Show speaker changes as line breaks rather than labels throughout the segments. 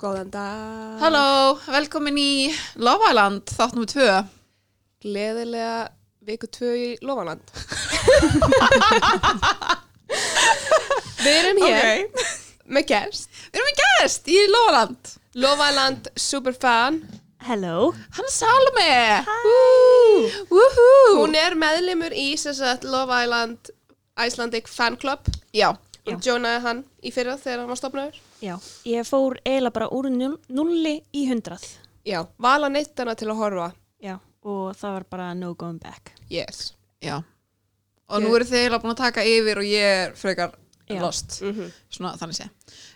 Góðan dag.
Halló, velkomin í Lofaland, þátt nr. 2.
Gleðilega viku tvö í Lofaland. Við erum hér
Ok.
með gerst.
Við erum í gæst í Lofaland.
Lofaland superfan.
Hello.
Hann Salme. Hæ. Woohoo.
Hún er meðlimur í sem sagt, Love Island Icelandic Fan Club.
Já.
Já.
Hún joinaði hann í fyrra þegar hann var stopnaður.
Já, ég fór eiginlega bara úr núll- núlli í hundrað.
Já, vala neitt hana til að horfa.
Já, og það var bara no going back.
Yes.
Já. Og nú eru þið eiginlega búin að taka yfir og ég er frekar
Já.
lost.
Mm -hmm.
Svona þannig sé.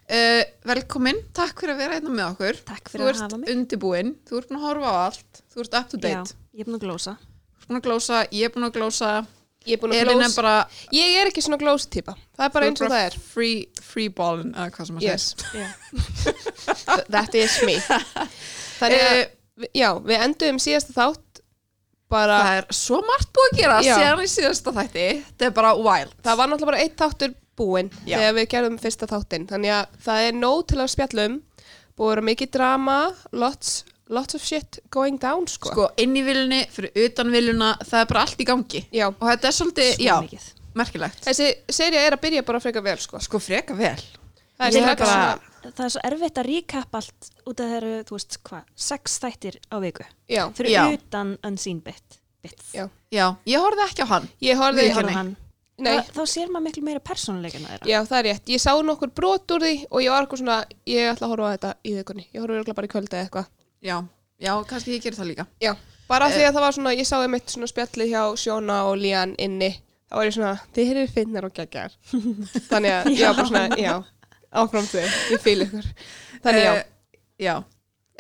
Uh, velkomin, takk fyrir að vera einna með okkur.
Takk
Þú
fyrir að
ert
hafa mig.
undirbúin, þú ert búin að horfa á allt, þú ert up to date.
Já, ég er búin að glósa.
Þú ert búin að glósa, ég er búin að glósa,
Ég er búin að
Elin er
glósa.
bara,
Ég er ekki svona glósa típa. Það er bara eins og það er.
free, free ballin, eða hvað sem að segja.
Yes.
Já.
Th- that is me þannig að,
Eh,
vi- já, við endum síðasta þátt bara,
Það er svo margt búið að gera
Já.
síðan í síðasta þætti. Þetta er bara wild.
það var náttúrulega bara eitt þáttur búinn
Já.
þegar við gerðum fyrsta þáttin þannig að það er nóg til að spjallum búið að vera mikið drama lots, lots of shit going down sko,
sko, inn í viljunni, fyrir utan viljuna, það er bara allt í gangi.
já,
Og þetta er svolítið,
Svo
já,
mikið.
merkilegt.
þessi serið er að byrja bara frekar vel sko
Sko, freka vel.
það er
Ég
strax
hef bara,
svona,
það er svo erfitt að recap allt út af það eru, þú veist, hvað, sex þættir á viku.
já,
Fyrir
Já.
utan unseen bit. bits.
Já.
Já, ég horfði ekki á hann.
ég horfði
Ég
ekki
horfði á hann.
nei,
Þá, þá sér maður miklu meira persónuleikana þeirra.
já, það er rétt, ég sá nokkur brot úr því og ég var eitthvað svona, ég ætla að horfa á þetta í vikunni, ég horfði örugglega bara í kvölda eitthvað
Já, já, kannski ég gerir það líka.
Já, Eh. bara af því að það var svona, ég sá einmitt svona spjallið hjá Sjóna og Lían inni. Það var ég svona, þið eru finnar og geggjar. Þannig að ég var bara svona, já, áfram þau, ég fíl ykkur. Þannig já,
Eh, já.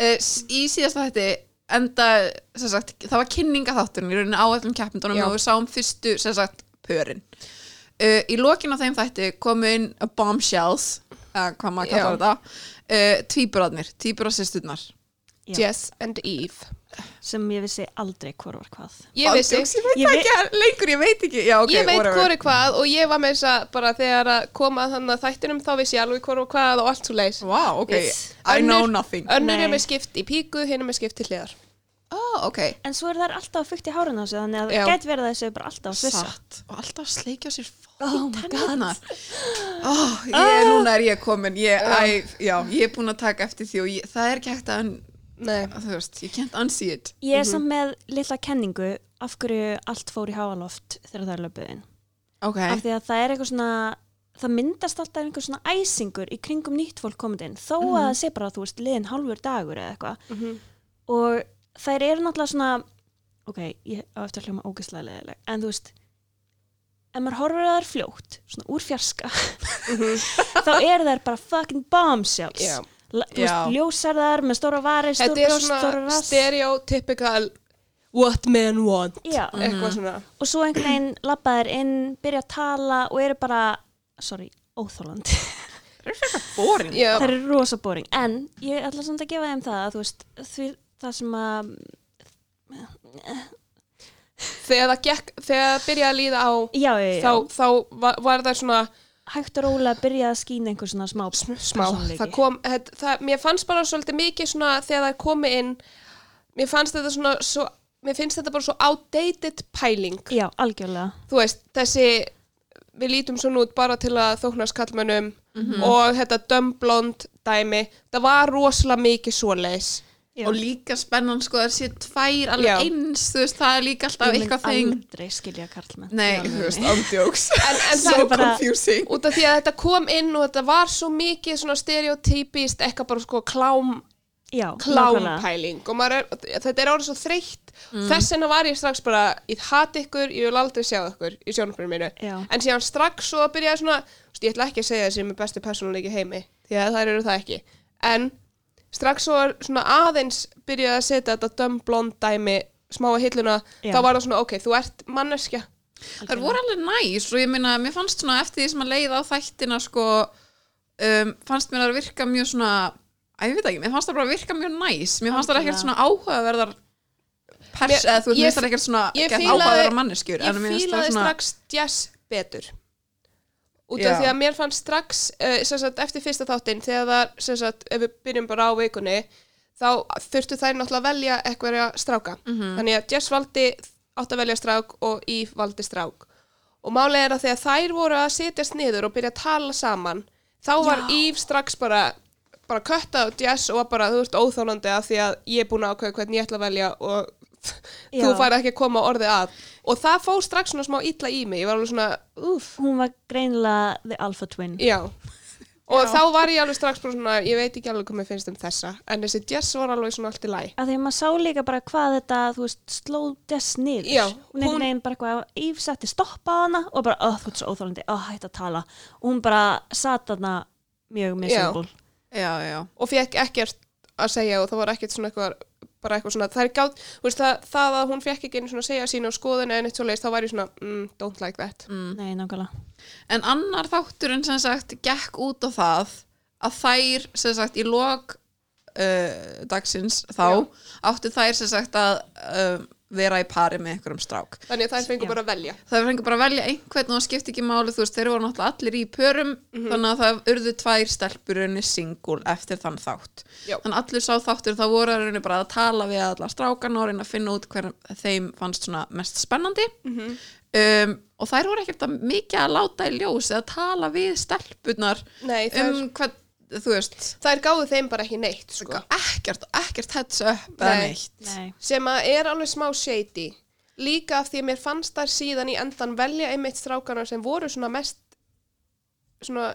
Uh, í síðasta þætti, enda, sem sagt, það var kynningaþátturinn í rauninni á öllum keppindunum
Já.
og við sáum fyrstu, sem sagt, pörin. Uh, í lokin á þeim þætti komu inn bombshells, uh, hvað maður
Já.
kallar þetta, uh, tvíburarnir, tvíburasisturnar.
Já.
Jess and Eve.
Sem ég vissi aldrei hvor var hvað.
Ég vissi,
Ég veit
Ég vei-
ekki lengur, ég veit ekki Já, ok,
ég veit
whatever.
hvori hvað og ég var með þess að bara þegar að koma þannig að þættinum þá vissi ég alveg hvori hvað og allt svo leis.
Vá, ok,
Yes.
I know
Önnur-
nothing
Önnur
Nei.
er með skipt í píku, hinn er með skipt til hliðar.
oh, ok,
En svo er það alltaf fukt í hárun á sig, þannig að
Já.
það gæti verið að þessu bara alltaf að svissa.
satt og alltaf sleikja sér
Oh
fokkin
my
tennunar oh, ég, núna er ég komin ég, æ, já, ég er búin að taka eftir því og ég, það er ekki hægt að un,
Nei,
þú veist, ég can't unsee it
Ég er
Mhm.
samt með litla kenningu af hverju allt fór í háaloft þegar það er löpuðin.
ok,
Af því að það er eitthvað svona, það myndast alltaf einhver svona æsingur í kringum nýtt fólk komið inn. Þó að það sé bara, þú veist, liðin hálfur dagur eða eitthvað.
Mhm.
Og þær eru náttúrulega svona, ok, ég á eftir að hljóma ógeðslega leðileg, en þú veist, ef maður horfir að þær fljótt, svona úr fjarska, þá eru þær bara fucking bombshells.
Mhm. Já.
La, þú
Já.
veist, ljósarðar með stóra varir, stóra
þetta er
brjóst, stóra
svona
rass.
stereotypical what men want. Mhm.
Já,
Eitthvað svona.
og svo einhvern veginn labba þær inn, byrja að tala og eru bara, sorry, óþólandi.
það er fyrir borin
Já,
það eru rosa boring, en ég ætla samt að gefa þeim það að þú veist, því það sem að,
þegar það gekk, þegar það byrjaði að líða á
já, já, já,
þá, þá var, var það svona
hægt og rólega byrja að skýna einhver svona smá
smá, það kom, það, það, mér fannst bara svolítið mikið svona þegar það komi inn mér fannst þetta svona svo, mér finnst þetta bara svo outdated pæling
Já, algjörlega.
þú veist, þessi við lítum svona út bara til að þóknast kallmönnum
Mhm.
og þetta dömblond dæmi, það var rosalega mikið svoleiðis
Já.
og líka spennan sko, það sé tvær alveg
Já.
eins, þú veist, það er líka alltaf eitthvað þing
aldrei skilja karlmenn.
nei,
Í alvörunni.
þú veist, andjóks
en, en
Svo
það er
bara-
confusing
út af því að þetta kom inn og þetta var svo mikið svona stereotypist, eitthvað bara sko klám
Já, nákvæmlega.
klámpæling og maður er, þetta er orðið svo þreytt
Mm.
þess vegna var ég strax bara ég hati ykkur, ég vil aldrei sjá ykkur í sjónarbrunum mínu
Já.
en síðan strax svo byrjaði svona þú veist, ég ætla ekki að segja þessi með bestu persónuleiki í heimi því að þær eru það ekki en strax svo er svona aðeins byrjaði að setja þetta döm blond dæmi smá að hilluna
Já.
þá var það svona ok, þú ert manneskja
Það voru alveg næs og ég meina, mér fannst svona eftir því sem að leiða á þættina sko, um, fannst mér að virka mjög svona, að ég veit ekki, mér fannst það bara virka mjög næs, mér fannst það ekkert svona áhugaverðar pers,
Mér-
eða þú
ég-
veist, mér fannst það ekkert svona
ég
ekkert
fílaði-
áhugaverðar
ég
manneskjur, en mér fannst
fílaði
það svona,
strax jazz betur út af
Já.
því að mér fannst strax uh, sem sagt, eftir fyrsta þáttinn þegar það, sem sagt, ef við byrjum bara á vikunni þá þurftu þær náttúrulega að velja eitthverja stráka
Mhm.
þannig að Jess valdi átt að velja strák og Íf valdi strák og málega er að þegar þær voru að setjast niður og byrja að tala saman þá var
Já.
Íf strax bara bara kötta á Jess og var bara þú ert óþólandi af því að ég er búin að ákveða hvernig ég ætla að velja og þú
Já.
fær ekki að koma orðið að og það fór strax svona smá illa í mig ég var alveg svona, uff,
Hún var greinilega the alpha twin.
já og þá var ég alveg strax bara svona ég veit ekki alveg hvað mér finnst um þessa en þessi Jess var alveg svona allt í læ
Af því að maður sá líka bara hvað þetta, þú veist, sló þess niður.
Já,
hún einhvern
hún-
veginn bara eitthvað, Yves setti stopp á hana og bara, oh, þú ert svo óþálandi, oh, hætt að tala. Og hún bara sat hana mjög miserable.
já, já,
og fekk ekkert að segja og það var ekkert svona eitthvað bara eitthvað svona, það er gátt, þú veist það, það að hún fekk ekki einu svona að segja sína á skoðinu eða neitt svo leiðist, þá var ég svona, mm, don't like that
Nei, nákvæmlega.
en annar þátturinn sem sagt gekk út á það að þær sem sagt í lok uh, dagsins þá áttu þær sem sagt að uh, vera í pari með einhverjum strák
þannig að þær fengur
Já.
bara að velja
það fengur bara að velja einhvern og það skipti ekki máli þú veist, þeir voru náttúrulega allir í pörum
Mhm.
þannig að það urðu tvær stelpur rauninni singul eftir þann þátt
Já.
þannig að allir sá þáttur þá voru rauninni bara að tala við alla strákan og reyna að finna út hver þeim fannst svona mest spennandi
Mhm.
um, og þær voru ekkert að mikið að láta í ljós eða tala við stelpunar
Nei, þær,
um hvern, þú veist
þær gáðu þeim bara ekki neitt sko.
ekkert, ekkert heads up eða
Nei.
neitt
Nei.
sem að er alveg smá shady líka af því að mér fannst þær síðan í endan velja einmitt strákana sem voru svona mest svona,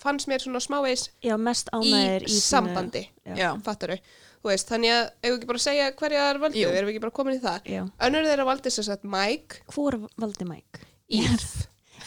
fannst mér svona smávegis
Já, mest
í,
ánægir í, sínu-
sambandi
Já.
Já.
fattaru, þú veist, þannig að eigum við ekki bara að segja hverja þær völdu,
Jú.
erum við ekki bara komin í það
Já.
Önnur þeirra valdi sem sagt Mike
Hvor valdi Mike?
Íf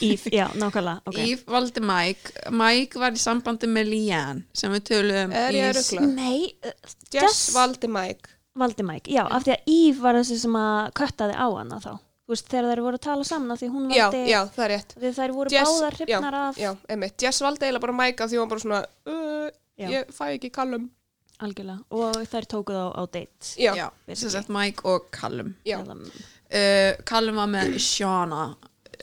Yves, já, nákvæmlega. ok.
Eve valdi Mike Mike var í sambandi með Leanne sem við töluðum
Er ég að
í-
ruggla?
Nei, uh,
Jess valdi Mike
valdi Mike, já, af því að Yves var þessi sem að köttaði á hana þá þú veist, þegar þær voru að tala saman af því hún
Já,
valdi,
já, það er rétt
því þær voru
Jess-
báðar hrifnar
já,
af
Já, einmitt, Jess valdi eiginlega bara Mike af því hún var bara svona uh,
Já.
Ég fæ ekki kallum
algjörlega, og þær tóku þá á date
Já, já,
Já, sem sagt Mike og Callum
já,
Eða, mm,
uh, Callum var með Shauna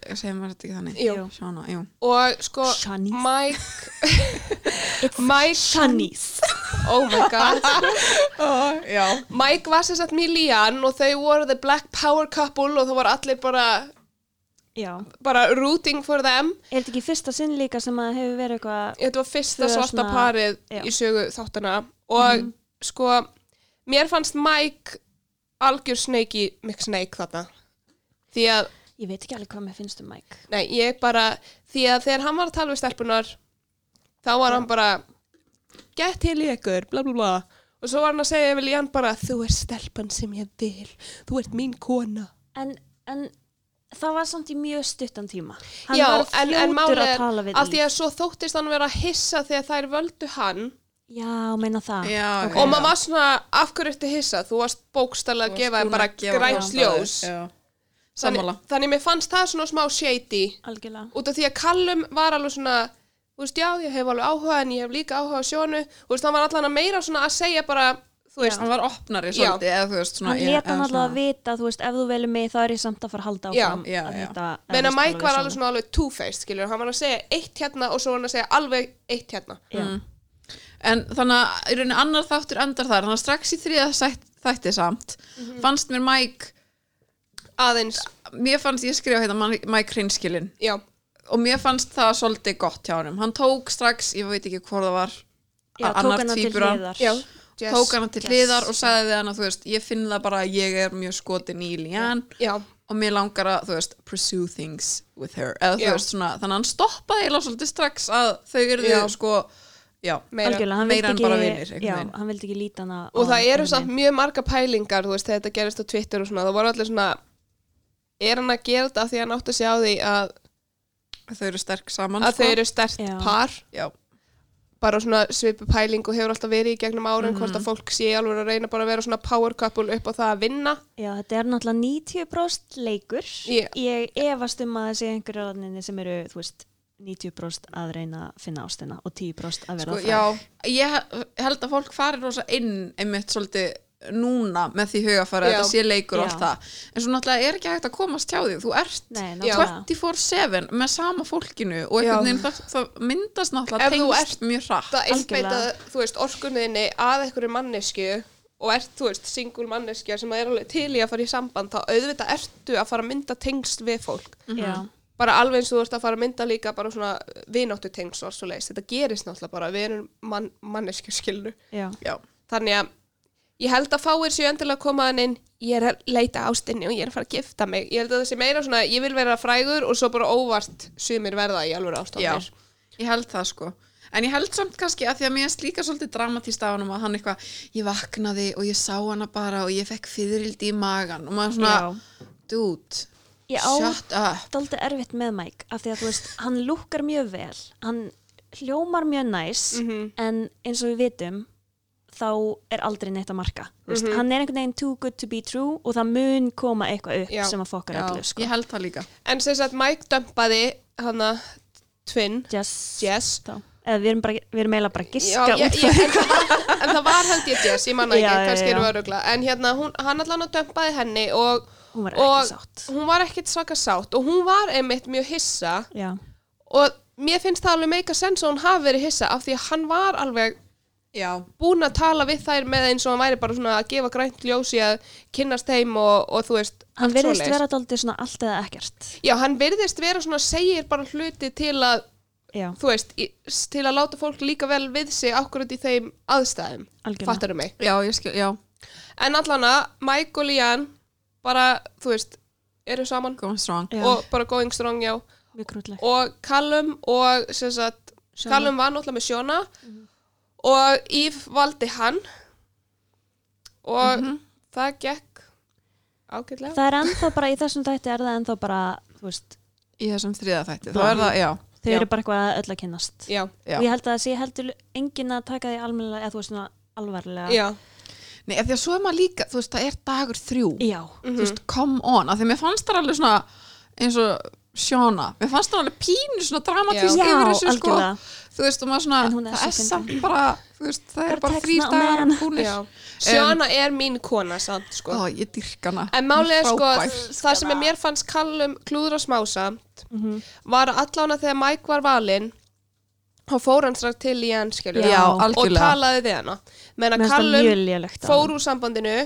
Eh, segir maður þetta ekki þannig?
Jú.
Jú.
Shauna, jú
Og sko,
Shanice.
Mike,
It's
Mike
Shanice
Oh my god
oh, Já
Mike var sem sagt með Lían og þau voru the black power couple og það var allir bara
já,
bara rooting for them
er þetta ekki fyrsta sinn líka sem að hefur verið eitthvað
þetta var fyrsta
Tvö
svarta
svona-
parið
já. Mhm.
í sögu þáttana og sko, mér fannst Mike algjör sneik í mikk sneik þarna því að,
ég veit ekki alveg hvað mér finnst um Mike
nei, ég bara því að þegar hann var að tala við stelpunar þá var hann bara get til í ykkur, bla bla bla og svo var hann að segja yfir Lían bara þú ert stelpan sem ég vil, þú ert mín kona
en, en það var samt í mjög stuttan tíma hann
Já,
var
en- en málið
fljótur að
er
tala við
af því
Yves.
að svo þóttist hann vera að hissa þegar þær völdu hann
já, meina það
Já,
Ok.
og maður var svona, af hverju ertu hissa þú varst bókstælega að gefa þeim bara græns ljós
Sammála
þannig, þannig mér fannst það svona smá shady
algjörlega
út af því að Callum var alveg svona þú veist, já, ég hef alveg áhuga en ég hef líka áhuga á sjónu, þú veist, hann var allan að meira svona að segja bara, þú veist
Hann var opnari svolítið eða þú veist svona
hann
já,
leta hann
eða
alltaf
svona-
að vita, þú veist, ef þú velur mig þá er ég samt að fara að halda
Já,
áfram
já,
að
já.
þetta- að
meðan
þetta
að Mike var
svona.
alveg svona alveg two-faced, skilur, hann var að segja eitt hérna og svo var hann að segja alveg eitt hérna
Já.
En þannig að í rauninni annar þáttur endar þar þannig að strax í þriða sætt, þætti samt
Mhm.
fannst mér Mike
aðeins,
mér fannst ég skrifa hérna Mike Mike Hrinskilin
já,
og mér fannst það svolítið gott hjá hann hann tók strax, ég veit ekki hvort það var a-
já, tók
annar
hann til
tvíburan.
hliðar
já
yes.
Jess,
tók hana til
Yes.
hliðar og sagði við hana, þú veist, ég finn það bara að ég er mjög skotin í Lían
já,
og mér langar að, þú veist, pursue things with her, eða þú
Já.
veist, svona þannig að hann stoppaði eiginlega svolítið strax að þau eru
Já.
sko, já
meira
algjörlega, hann
meira
vildi
en
ekki
bara vinir, einhvern
já,
veginn.
hann vildi ekki líta hana
og
á
það eru
einhvern
samt mjög marga pælingar þú veist, þegar þetta gerist á Twitter og svona það voru allir svona er hann að gera þetta af því að hann átti að sjá því að,
þau eru sterk saman, sko.
að þau eru stert
sko- Já.
par
já,
bara svona svipu pæling og hefur alltaf verið í gegnum árin
Mhm.
hvort að fólk sé alveg að reyna bara að vera svona power couple upp á það að vinna
veginn. já, þetta er náttúrulega 90% leikur
Já.
ég efast um að það sé einhverju ranninni sem eru, þú veist 90% að reyna að finna ástina og 10% að vera
sko,
það
já ég he- held að fólk farir rosa inn einmitt svolítið núna með því hugafara
Já.
þetta sé leikur og
Já.
allt það en svo náttúrulega er ekki hægt að komast hjá því þú ert
Nei,
Já.
náttúrulega.
24-7 með sama fólkinu og
Já.
einhvern veginn það, það myndast náttúrulega
Ef þú
tengst mjög hratt
það einbeita,
Algjörlega.
þú veist, orkunniðinni að einhverju mannesku og ert, þú veist, singul manneskja sem er alveg til í að fara í samband, þá auðvitað ertu að fara að mynda tengsl við fólk.
Já.
Bara alveg eins og þú ert að fara að mynda líka bara svona uh, vináttu tengsl og svo leiðist. Þetta gerist náttúrulega bara, við erum mann, manneskju skilnu.
Já.
Já.
Þannig að ég held að fáir sér endilega að koma hann inn, ég er að leita ástinni og ég er að fara að gifta mig. Ég held að það sé meira svona, ég vil vera frægur og svo bara óvart sumir verða í alveg ástofnir.
ég held það sko en ég held samt kannski að því að mér er líka svolítið dramatist af hann að hann eitthvað ég vaknaði og ég sá hana bara og ég fekk fyririldi í magan og maður svona,
Já.
dude
Ég á
shut up
daldið erfitt með Mike af því að þú veist, hann lukkar mjög vel hann hljómar mjög næs
Mhm.
en eins og við vitum þá er aldrei neitt að marka mm veist,
Mhm.
hann er einhvern veginn too good to be true og það mun koma eitthvað upp
Já.
sem að fokkar
Já,
öllu sko.
ég held það líka
En sem sagt, Mike dömpaði hana tvinn,
Jess,
Jess.
þá eða við erum, bara, við erum eiginlega bara að
Já,
giska
ég,
út
ég, en, en það var held ég Jess, ég manna ekki,
Já, já,
kannski
já.
eru örugla En hérna, hún, hann allan að dömpaði henni og
hún var
og
ekki sátt
hún var ekkit svaka sátt og hún var einmitt mjög hissa
já,
og mér finnst það alveg meika sens að hún hafi verið hissa af því að hann var alveg
já,
búin að tala við þær með eins og hann væri bara svona að gefa grænt ljósi að kynnast þeim og, og þú veist
hann
allt
verðist
svoleiðis.
vera daldið svona allt eða ekkert
Já, hann virðist vera svona segir bara hluti til að
já,
þú veist, í, s- til að láta fólk líka vel við sig akkurat í þeim aðstæðum
Algjörlega.
fattarum mig
já, ég skil, já
en allan að Mike og Lian bara, þú veist, eru saman
going strong
Já.
og bara going strong já
mjög krútleg
og Callum og sem sagt,
Shona.
Callum var náttúrulega með Shona og Yves valdi hann og það gekk ágætlega
það er ennþá bara í þessum dætti er það ennþá bara þú veist,
í þessum þriða þætti, þá er það, já
þau
Já.
eru bara eitthvað öll að kynnast
já,
Já.
og ég held að það sé heldur engin að taka því almennilega eða þú veist svona alvarlega
já,
Nei, ef því að svo er maður líka, þú veist, það er dagur þrjú
Já.
þú veist, come on, af því að mér fannst það alveg svona eins og Sjóna, mér fannst það alveg pínu svona dramatísk
Já.
yfir
Já,
þessu sko
algjörlega.
þú veist, og maður svona,
En hún er
það
svo
er
fyndin.
samt bara þú veist, það
Bara
er bara
tekna
þrýr
á
dagar
meðan.
búnir
já. Shona Um, er mín kona samt sko
Ó, ég dyrkana
En málið er sko, það sem mér fannst kallum klúðra smásamt mm -hmm. var að allána þegar Mike var valinn og fór hann strax til í hann skilur
Já,
og
algjörlega.
talaði við hana meðan
Mér
að
finnst það mjög
kallum
lélegt
fór úr sambandinu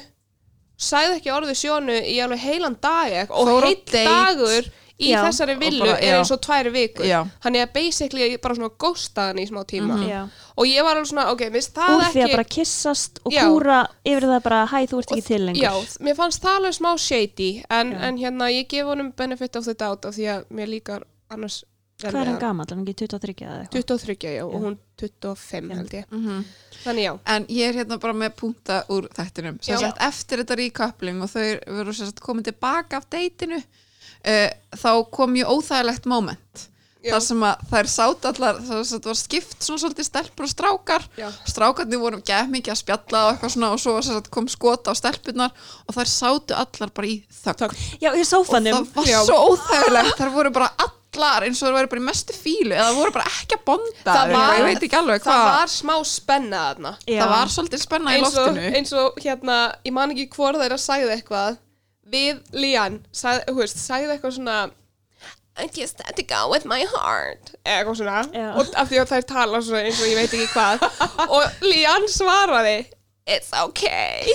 sagði ekki orðið sjónu í alveg heilan dag ek- og
Fór á
heill
date.
dagur í
Já.
þessari
Og
villu
bara-
er
já.
eins og tvær vikur
Já. Mhm.
hann er basically bara svona góstaðan í smá tíma
Já.
og ég var alveg svona, ok, minnst það
Mm. úr því
ekki
að bara kyssast og
Já.
kúra yfir það bara hæ þú ert
Og
ekki til
þ-
lengur
Já, þ- mér fannst það alveg smá shady en, en hérna, ég gef honum benefit of the doubt af því að mér líkar annars vel
hvað
við
er hann
hann.
gamall, hann ekki 23 eða eitthvað
23, já, og hún 25 held ég
Mhm.
Þannig já,
En ég er hérna bara með punta úr þættinum sem
Já.
sagt eftir þetta ríköpling og þau veru sem sagt komið tilbaka af deytinu uh, þá kom mjög óþægilegt moment
Já.
þar sem að þær sátt allar það var skipt svona svolítið stelpur og strákar
Já.
strákarnir voru gæð mikið að spjalla og eitthvað svona og svo var, sem sagt, kom skota á stelpunar og þær sátu allar bara í þögn
já, í sófanum
það var svo óþægilegt þær voru bara allar eins og þær voru bara í mestu fílu eða voru bara ekki að bonda
Það
eða eitthvað,
var-
ég veit ekki alveg
það
hvað
var smá spenna þarna
Já.
það var svolítið spenna í
eins og,
loftinu
eins og hérna, ég man ekki hvort þeirra sagði eitthvað við Lían, sagði, hú veist, sagði eitthvað svona I just had to go with my heart eða eitthvað svona
Já.
og af því að þær tala svona eins og ég veit ekki hvað og Lían svaraði It's okay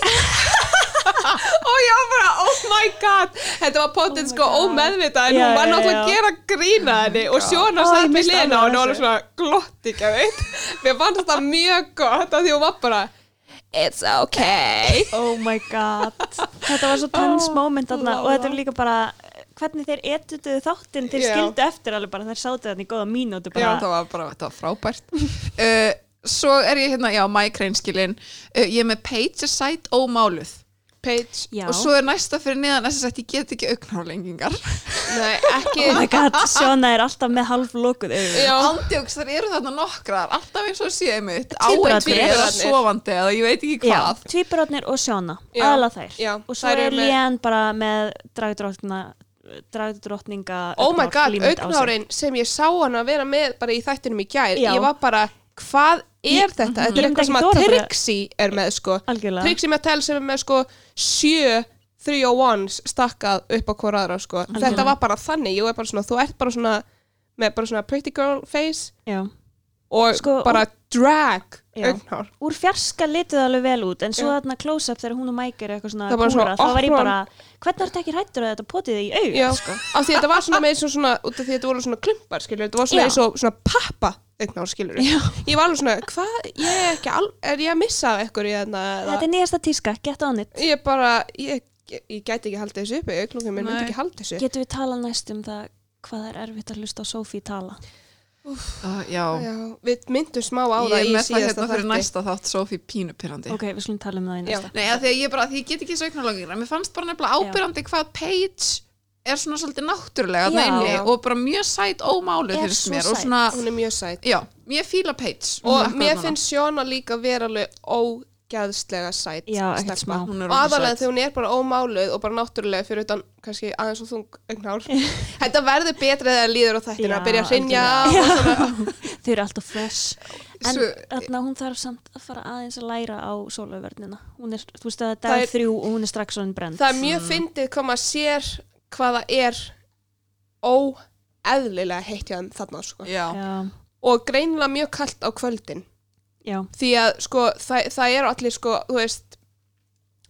og ég var bara, oh my god þetta var potið
Oh my
sko
god.
ómeðvitað en
Já,
hún var
já,
náttúrulega að
já.
gera grína henni og Sjóna
Ó, ég
satt með
missti
Lena
alveg
og hún var
þessu.
svona glotti ekki veit mér fannst það mjög gott af því hún var bara It's okay
oh my god Oh, þetta var svo tens moment þarna og þetta er líka bara hvernig þeir etutu þáttinn þeir
Já.
skildu eftir alveg bara þeir sátu þarna í góða mínútu
Já,
bara
það var bara, þetta var frábært uh, Svo er ég hérna, já, mækreinskilin uh, Ég er með page site ómáluð
Paige
Já.
Og svo er næsta fyrir neðan þess að ég get ekki augnálengingar
Nei, ekki
oh my god, Sjóna er alltaf með halv lókuð
Já,
Andjóks, þar eru þarna nokkrar Alltaf eins og séu mitt Á
Tvíburarnir.
einn fyrir eða sofandi eða ég veit ekki
Já,
hvað
tvíburarnir og Sjóna,
Já,
aðla þær
já,
og svo
þær
er
eru með-
Lén bara með dragdrótna dragdrótninga
oh my
augnhár
god,
límit á sig.
augnárin sem ég sá hann að vera með bara í þættinum í gær
Já.
ég var bara, hvað er
Ég-
þetta? Þetta
Ég
er
myndi
eitthvað sem
ekki
að
þora bara-
Trixie er með sko.
algjörlega
Trixie Mattel sem er með sko sjö 301s stakkað upp á hvora aðra sko. Þetta var bara þannig, ég er bara svona, þú ert bara svona með bara svona pretty girl face
Já.
og
Sko,
bara drag
Já.
augnhár.
úr fjarska litið það alveg vel út en svo
Já.
þarna close-up þegar hún og Mike eru eitthvað svona
Það var bara svona
kúra, þá var ég
opnum-
bara, hvernig er þetta ekki hrættur að þetta potið þig í sko?"
Já,
aug
af því þetta var svona með eins og svona, út af því þetta voru svona klumpar, skilur, þetta var svona
Já.
eins og svona pappa augnhár, skilur.
Já.
Ég var alveg svona, hvað, ég er ekki al, er ég að missa af ykkur í þarna? eða-
þetta er nýjasta tíska, get on it
Ég bara, ég, ég, ég gæti ekki haldið þessu uppi, augnlokkin minn myndi
Nei.
ekki haldið þessu.
getum við talað næst um það hvað það er erfitt að hlusta á Sophie tala
Uh, já,
Já, við myndum smá á
ég
það
er
í
með það
síðasta
hérna fyrir
þætti.
næsta þátt Sophie pínupirrandi
ok, við slum tala um það í
Já.
næsta
Nei, að því að ég bara, því ég get ekki sögnarlókina Mér fannst bara nefnilega
Já.
ábyrrandi hvað Paige er svona svolítið náttúrulega þarna
Já.
inni
Já.
og bara mjög sæt ómálu
Er
finnst
svo
mér og
sæt.
svona,
Hún er mjög sætt.
já, mér fíla Paige
Og
Akkurat
mér
núna.
finnst Sjóna líka vera alveg ógeðslega sætt.
Já, ekkert
stelpa.
smá.
Hún
Og
er ógeð
aðalega
sæt.
þegar hún er bara ómáluð og bara náttúrulega fyrir utan kannski aðeins og þung augnhár. Þetta verður betra þegar líður á þættina
Já,
að byrja að hrynja
algjörlega.
og svona.
þau eru alltaf fresh en
Svo-
þarna hún þarf samt að fara aðeins að læra á sólaverðnina hún er, þú veist að
Það
það er
er-
dag þrjú og hún er strax svona brend
Það er mjög fyndið hvað maður sér hvað það er óeðlilega heitt hjá þeim þarna sko.
Já,
já,
og greinilega mjög kallt á kvöldin
já,
því að sko það, það eru allir sko þú veist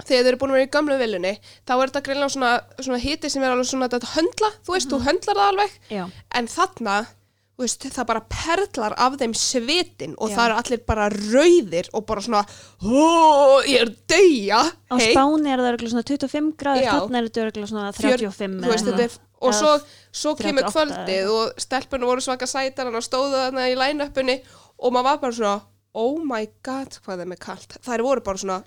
þegar þau eru búin að vera í gamlu vilunni þá er þetta greinilega svona, svona hiti sem er alveg svona þetta höndla, þú veist,
Mhm.
þú höndlar það alveg
já,
en þarna, þú veist, það bara perlar af þeim svitin og
Já.
það eru allir bara rauðir og bara svona ó, ég er döja
á Spáni er það örgulega svona 25 gráður
Já.
þarna er þetta örgulega svona 35
þú veist,
eða
þetta er og
Eða
svo, svo
38
kemur kvöldið og stelpunum voru svaka sætar hann og stóðu þarna í line-upinni og maður var bara svona oh my god hvað þeim er kalt þær voru bara svona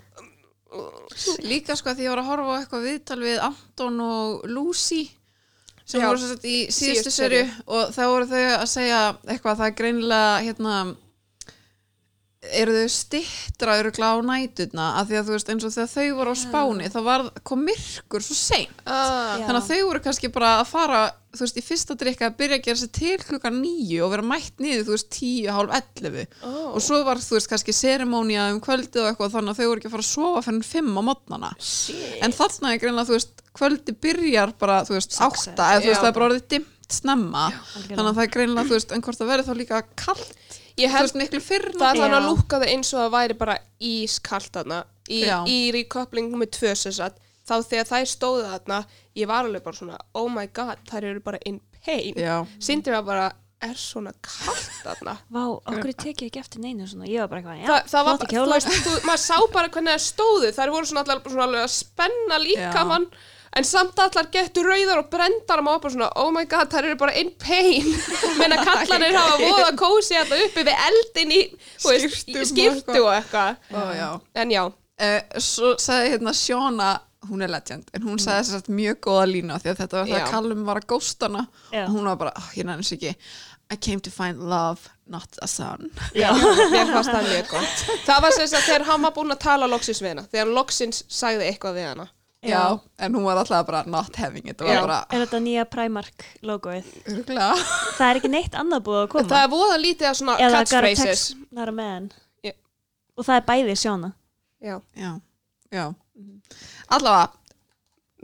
líka sko að því ég var að horfa á eitthvað viðtal við Anton og Lucy sem
Já.
voru svo sett í síðustu
Síðustu
serju og þá voru þau að segja eitthvað það er greinilega hérna eru þau stittra örugla á næturna að því að þú veist eins og þegar þau voru á spáni þá var, kom myrkur svo seint
ah,
Já.
þannig að þau voru kannski bara að fara þú veist, í fyrsta drikka að byrja að gera sér til klukkan níu og vera mætt niður, þú veist, tíu, hálf, ellefu
oh.
og svo var, þú veist, kannski serimónia um kvöldið og eitthvað þannig að þau voru ekki að fara að sofa fyrir fimm á mótnana en þarna er greinlega, þú veist, kvöldi byrjar bara, þú veist,
Sex,
átta eða þú
já.
veist, það er bara orðið dimmt snemma
algjörlega.
þannig að það er greinlega, þú veist, en hvort það verður þá líka kallt,
ég
þú
held
veist, miklu fyrr
það er
Já.
þannig að lúka það eins og það væri bara ískalt þarna í,
Já.
í recoupling með tvö sem sagt þá þegar þær stóðu þarna ég var alveg bara svona oh my god þær eru bara in pain
já,
Sindri var bara er svona kalt þarna
Vá, okkur tekið ekki eftir neinu svona, ég var bara eitthvað, já,
Þa, það var,
flott
þú
kjóla.
veist, þú, maður sá bara hvernig það stóðu þær voru svona allar svona alveg að spenna líkamann en samt allar gettu rauðar og brendar og maður bara svona, oh my god, þær eru bara in pain menna kallanir hafa voða kósi þetta uppi við eldin í þú veist,
Skyrtum og
skiptu og eitthvað
ó, já.
en já,
Uh, svo sagði hérna Sjóna hún er legend, en hún sagði þess að mjög góða lína því að þetta var það
Mm. Já.
að Callum var að góstana
Já.
og hún var bara, oh, ég nefnir sér ekki I came to find love, not a son
já, mér fannst það mjög gott það var sem sagt þegar hann var búinn að tala loksins við hana, þegar hann loksins sagði eitthvað við hana
Já.
Já, en hún var alltaf bara not having it, það
Já.
var bara
Er þetta nýja Primark logoið?
örgla
Það er ekki neitt annað búið að koma?
það er voða lítið að svona
Eða Gara
catchphrases
Tex, not a man.
Já.
Og það er bæði sjána.
já.
Já, já Allavega,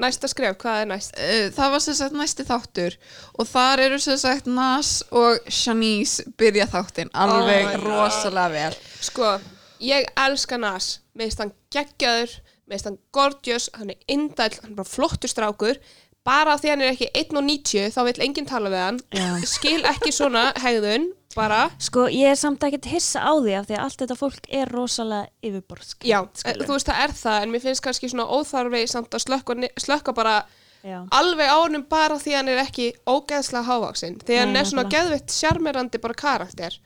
næsta skref, hvað er næst?
uh, það var sem sagt næsti þáttur og þar eru sem sagt Nas og Shanice byrja þáttinn alveg
Oh my God.
rosalega vel
Sko, ég elska Nas meðist hann geggjaður, meðist hann gorgeous, hann er indæll, hann er bara flottur strákur bara af því hann er ekki 1.90 þá vill enginn tala við hann
Já.
skil ekki svona hegðun bara,
Sko, ég er samt ekkert hissa á því af því að allt þetta fólk er rosalega yfirborsk.
já, eh, þú veist það er það en mér finnst kannski svona óþarfi samt að slökka, ni- slökka bara
Já,
alveg á honum bara af því hann er ekki ógeðslega hávaksinn, því hann
Nei,
er svona
nefnilega.
geðvitt sjarmerandi bara karakter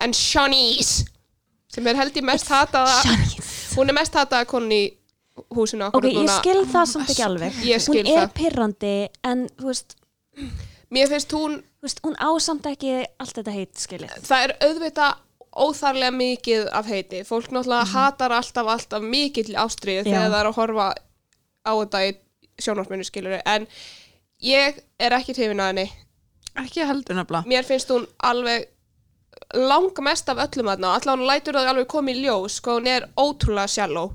en Shanice sem er held ég mest hataða hún er mest hataða konni í húsinu
Ok,
akkurat
ég
núna.
skil það samt ekki alveg.
Ég skil
Hún er
það.
pirrandi en, þú veist,
Mér finnst hún,
þú veist, hún á samt ekki allt þetta heit, skilið.
það er auðvitað óþarlega mikið af heiti. Fólk náttúrulega hatar alltaf, alltaf mikill ástriðu þegar
Mhm. Já.
það er að horfa á þetta í sjónvarpinu skilur. En ég er ekki hrifin að henni.
Ekki heldur nefnilega
Mér finnst hún alveg langmest af öllum þarna og allan lætur það alveg komið í ljós hvað hún er ótrúlega shallow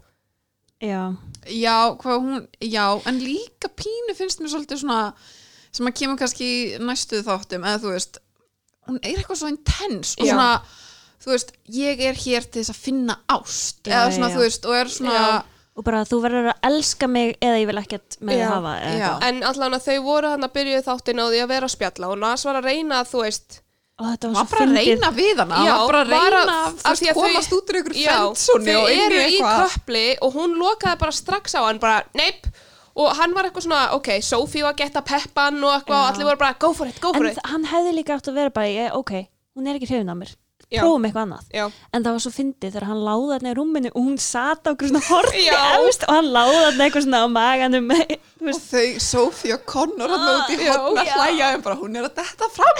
já,
já, hvað hún, já, en líka pínu finnst mér svolítið svona sem að kemur kannski í næstu þáttum eða þú veist, hún er eitthvað svo intense og
Já.
svona þú veist, ég er hér til þess að finna ást
Já,
eða
já,
svona,
já.
þú veist, og er svona
Já.
og bara þú verður að elska mig eða ég vil ekkert með
Já,
þið hafa eða
já.
eitthvað.
en allan að þau voru hann að byrjuð þáttin á því að vera að spjalla og Nas var að reyna að þú veist
og þetta
Hún
var
var
svo
bara að
fyndið.
reyna við hana, hún
Já,
var bara að
var að-
reyna
af
að, að,
því að
að
þau-
komast út úr ykkur
Já,
fendsóni og
þau
inn
eru
í
í
eitthvað.
köpli og hún lokaði bara strax á hann bara neip og hann var eitthvað svona ok, Sophie var að geta peppan og eitthvað og allir voru bara go for it, go for
en
it
þa- hann hefði líka átt að vera bara ég, ok, hún er ekki hrifin að mér
Já.
prófum eitthvað annað,
Já.
en það var svo fyndið þegar hann láði þarna í rúminu og hún sat á okkur svona horti
Já.
efst og hann láði þarna eitthvað svona á maganum þú
Og
veist,
þau, Sophie og Connor hann út í
Já,
hotn að
já.
hlæja en bara hún er að detta fram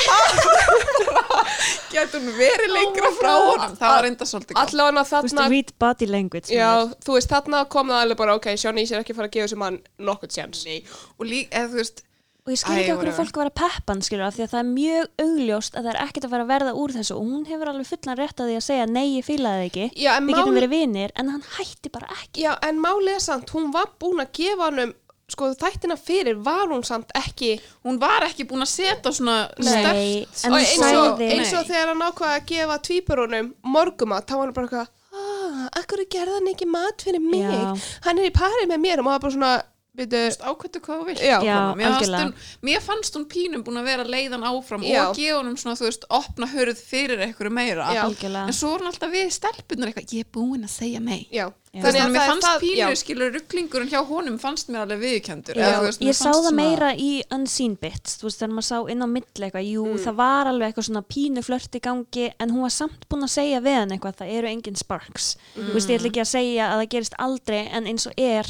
getur hún verið lengra frá honum það var enda svolítið gott
allan að
þú veist,
þarna
read body language
Já,
maður.
þú veist, þarna kom það alveg bara, ok, Sjóni er ekki að fara að gefa sem hann nokkuð séns.
Nei, og líka, eða þú veist
og ég
Æ,
skil ekki okkur
whatever.
að fólk var að peppan skilur af því að það er mjög augljóst að það er ekkert að fara að verða úr þessu og hún hefur alveg fullan rétt að því að segja nei, ég fílaði þig ekki
Já, en
við getum
mál-
verið vinir, en hann hætti bara ekki
Já, en málið er samt, hún var búin að gefa hann um, sko, þættina fyrir var hún samt ekki,
hún var ekki búin að setja svona
Nei,
stert
en
og
hún
eins og,
sagði-
eins og þegar hann ákvaði að gefa tvíburunum morgumat, þá var hann bara eitthvað, aah, akkur gerði hann ekki mat fyrir mig,
Já.
hann er í parið með mér og maður bara svona, byrju,
ákvæmdu hvað þú vilt
Já.
kona.
Já,
mér, fannst
algjörlega.
hún, mér fannst hún pínum búin að vera leiðan áfram
Já.
og gefa honum svona, þú veist, opna hörð fyrir einhverju meira
Já.
algjörlega
en svo er hún alltaf við stelpunar eitthvað ég er búin að segja nei
já.
Já.
þannig að
það
mér
er
fannst
það-
pínu
já.
skilur rugglingurinn hjá honum fannst mér alveg viðkendur
Já, ég sá það meira í unseen bits þú veist, þegar maður sá inn á milli eitthvað jú, það var alveg eitthvað svona pínu flört í gangi en hún var samt búin að segja við hann eitthvað það eru engin sparks þú veist, ég ætla ekki að segja að það gerist aldrei en eins og er,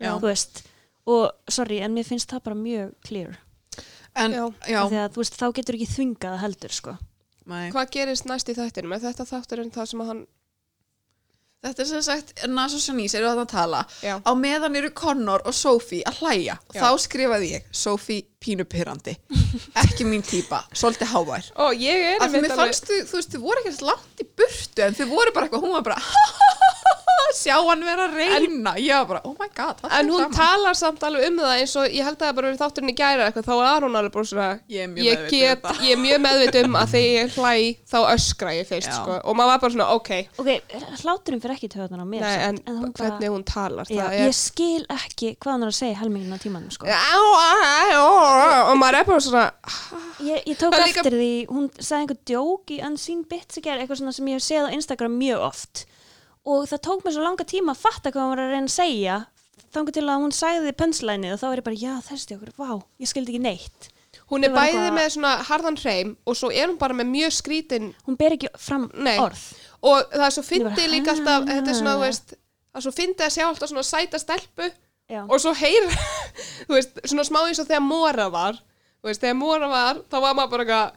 Já.
þú veist og sorry, en mér finnst það bara mjög clear,
en,
Já.
já,
Af því að þú veist, þá getur ekki þvingað heldur, sko
nei.
Hvað gerist næst í þættinum? Er þetta þátturinn það sem að hann,
þetta er sem sagt Nas og Shanice eru þarna að tala
Já.
á meðan eru Connor og Sophie að hlæja og
Já.
þá skrifaði ég Sophie pínupyrrandi ekki mín típa, svolítið hávær
ó, ég er
af því
einmitt
mér
alveg-
fannst þau, þú veist, þau voru ekkert langt í burtu en þau voru bara eitthvað, hún var bara sjá hann vera að reyna ég var bara, oh my god, það
En
er
hún
gaman
talar samt alveg um það eins og ég held að það bara verið þátturinn í gæra eitthvað, þá var hún alveg bara svona
Ég er mjög meðvituð um
get,
þetta.
ég er mjög meðvituð um að þegar ég hlæ þá öskra ég fyrst
Já.
sko. og maður var bara svona ok,
ok, hláturinn fyrir ekki töðan á mér
nei, en,
samt, hún bara-
hvernig hún talar
Já,
það
ég sko-
er
skil ekki hvað hann er að segja helmingina tímanum sko.
Á, á, á, á, og maður er bara svona
Ég, ég tók
Það er líka-
eftir því, hún sagði einhver djók í Unseen Bits í gerð, eitthvað svona sem ég hef séð á Instagram mjög oft og það tók mér svo langa tíma að fatta hvað hún var að reyna að segja þangur til að hún sagði punchline og þá er ég bara, já þessi djókur, vá, ég skildi ekki neitt
hún er
Ég var
bæði
eitthvað-
með svona harðan hreim og svo er hún bara með mjög skrítin
hún ber ekki fram
Nei.
orð
og það er svo
Ég bara,
fyndi líka alltaf
ha.
þetta er svona, þú veist, það er svo fyndi að sjá alltaf svona sæta stelpu
Já.
og svo heyra, þú veist, svona smá eins og þegar Móra var, þú veist, þegar Móra var þá var maður bara eitthvað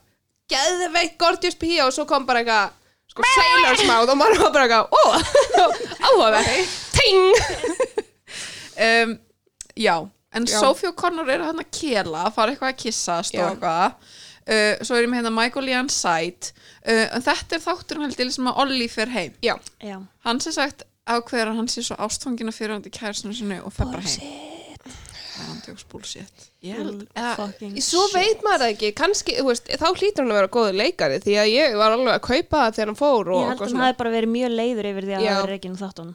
geðveikt gorgeous pía og svo kom bara eitthvað sko sailor's mouth og maður var bara eitthvað ó, áhugaverð ting,
um, já, en
Já.
Sophie og Connor eru hann að kela að fara eitthvað að kissast
Já.
og eitthvað Uh, svo er ég með hérna Michael Lee Sight uh, en þetta er þátturinn held ég sem að Olli fer heim
já,
Já,
hann sem sagt ákveður að hann sé svo ástfangina fyrir hann til kærasinu sinni og fer bara heim það er hann tjóks bullshit ég held, eða,
fucking
svo veit maður það ekki kannski, þú veist, þá hlýtur hann að vera góður leikari því að ég var alveg að kaupa það þegar hann fór og
Ég
eitthvað
held að
svona.
hann hafi bara verið mjög leiður yfir því að
Já.
það er ekki nú þáttun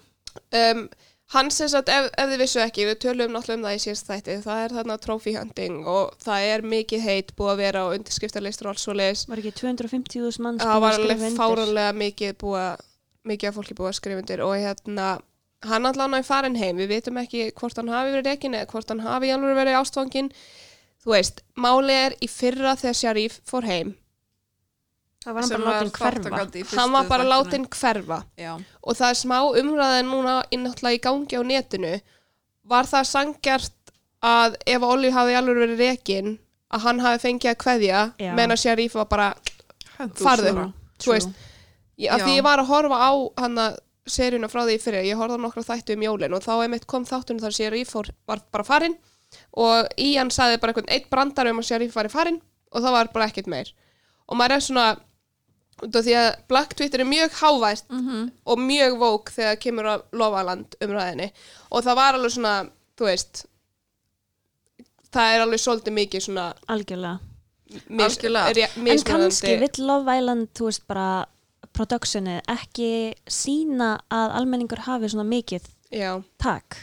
um, hann sem sagt, ef, ef þið vissu ekki við tölum náttúrulega um það í síðast þætti það er þarna trophy hunting og það er mikið heit búið að vera á undirskriftarleistur og alls og leis,
Var ekki 250.000 manns
það
búin að
var alveg
skrifa undir?
fáranlega mikið búið að- mikið af fólki búið að skrifa undir og hérna hann allan er farin heim, við vitum ekki hvort hann hafi verið rekin eða hvort hann hafi í alveg verið ástfangin þú veist, máli er í fyrra þegar Sharif fór heim
Það var hann
sem
bara látin hverfa
þátttakandi í fyrstu
hann var bara
þættinum.
látin hverfa
já,
og það er smá umræðin núna í náttúrulega í gangi á netinu var það sangjart að ef Olli hafi alveg verið rekin að hann hafi fengið að kveðja
Já.
meðan að Sharif var bara
Hentu
farðu,
svona.
þú veist ég, af
Já.
því ég var að horfa á hann að seríuna frá því fyrir, ég horfði á nokkra þættu um jólin og þá einmitt kom þáttunum þar Sharif fór, var bara farinn og í hann sagði bara einhvern eitt brandar um að Sharif var farinn og það var bara ekkert meir og maður er svona út af því að Black Twitter er mjög hávært
Mhm.
og mjög vók þegar kemur að lofaland umræðinni og það var alveg svona, þú veist það er alveg svolítið mikið svona
algjörlega
mis,
Algjörlega.
ré-
en kannski
mismunandi
vill Love Island þú veist bara productionið ekki sína að almenningur hafi svona mikið
já,
tak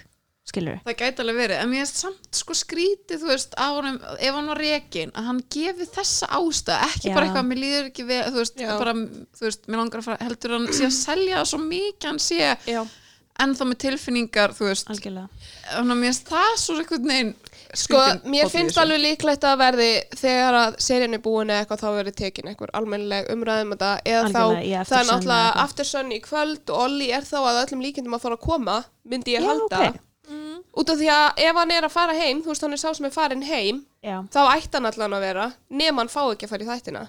skilur
Það gæti alveg verið, en mér finnst samt sko skrítið, þú veist, á honum, ef hann var rekin, að hann gefi þessa ástæð, ekki
Já.
bara eitthvað, mér líður ekki við, þú veist,
Já.
bara, þú veist, mér langar að fara, heldur hann sé að selja það svo mikið, hann sé
já.
ennþá með tilfinningar, þú veist,
algjörlega
þannig að mér finnst það svo eitthvað neginn
Sko, mér finnst alveg líklegt að verði þegar að serían er búin eða eitthvað þá verði tekin einhver almennileg umræðum þetta eða
Algjörlega, í
þá, það
Aftersun
er
eða
náttúrulega
eitthvað.
aftersun í kvöld og Olli er þá að öllum líkindum að fara að koma myndi ég
Já,
halda
ok.
út af því að ef hann er að fara heim þú veist hann er sá sem er farin heim
já,
þá ætti hann allan að vera nema hann fá ekki að fara í þættina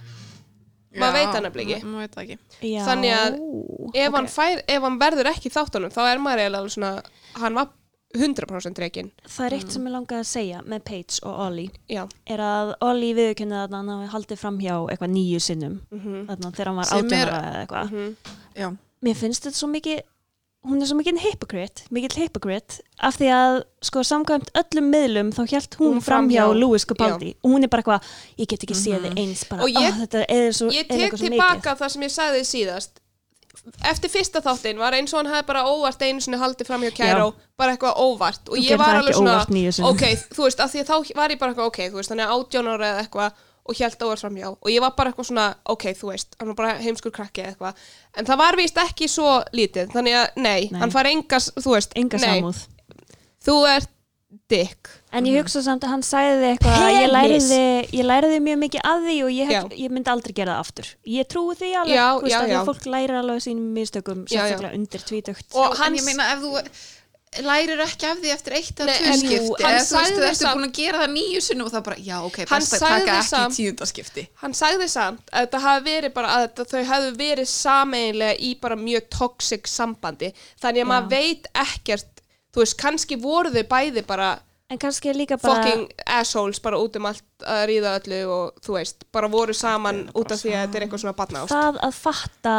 maður veit það nefnilega ekki.
Maður veit það ekki.
já
Þannig að ef,
ok.
hann fær, ef hann verður ekki í þáttunum þá er maður eiginlega alveg svona hann var 100% rekin
það er eitt sem ég langaði að segja með Paige og Ollie
já,
er að Olli viðurkennið að hann hafi haldið fram hjá eitthvað nýju sinnum þannig að þegar hann var
Sem er-
átjónara eða eitthvað
Já.
Mm.
mér finnst þetta svo mikið hún er svo mikið hypocrite, mikið hypocrite af því að sko samkvæmt öllum miðlum þá hjælt hún,
Hún
fram hjá
framhjá- Mhm.
Louis Capaldi og hún er bara eitthvað, ég get ekki séð þið eins bara,
Og ég-
"Ah, þetta er, svo,
ég
er
tek
eitthvað svo mikið
tilbaka það sem ég sagði síðast eftir fyrsta þáttinn var eins og hann hefði bara óvart einu sinni haldið fram hjá Kæró bara eitthvað óvart og
Þú
ég
gerir
var
það
alveg
ekki óvart níu
svona
sinnum.
ok, þú veist, af því að þá var ég bara eitthvað ok, þú veist, hann er 18 ára eða eitthvað og hjælt óvart fram hjá og ég var bara eitthvað svona ok, þú veist, hann var bara heimskur krakki eða eitthvað en það var víst ekki svo lítið þannig að nei,
Nei.
hann fær engas, þú veist
enga
nei,
samúð
þú ert dick
en ég hugsa samt að hann sagði eitthvað ég
Mm. Penis.
læriði, ég læriði mjög mikið að því og ég,
Já.
hef, ég myndi aldrei gera það aftur ég trúi því alveg,
Já,
þú veist
já,
að því
já.
að fólk læri alveg á sínum mistökum,
Já, já.
sérstaklega undir tvítökt
Og
Og
hans-
hans... En ég meina, ef þú lærir ekki af því eftir eitt eða
Nei,
tvö
en jú,
skipti,
hann
eða þú veist,
sagði
þú ertu
samt-
búin að gera það nýju sinnum og það bara, já, ok,
Hann
best að
sagði
taka ekki
samt-
í tíundaskipti.
Hann sagði samt að þetta hafi verið bara að þetta, þau hefðu verið sameinlega í bara mjög toxic sambandi þannig að
Já.
maður veit ekkert þú veist, kannski voru þau bæði bara
en kannski er líka bara
fucking assholes bara út um allt að ríða öllu og þú veist, bara voru saman út af því að þetta er eitthvað svona barnást
það að fatta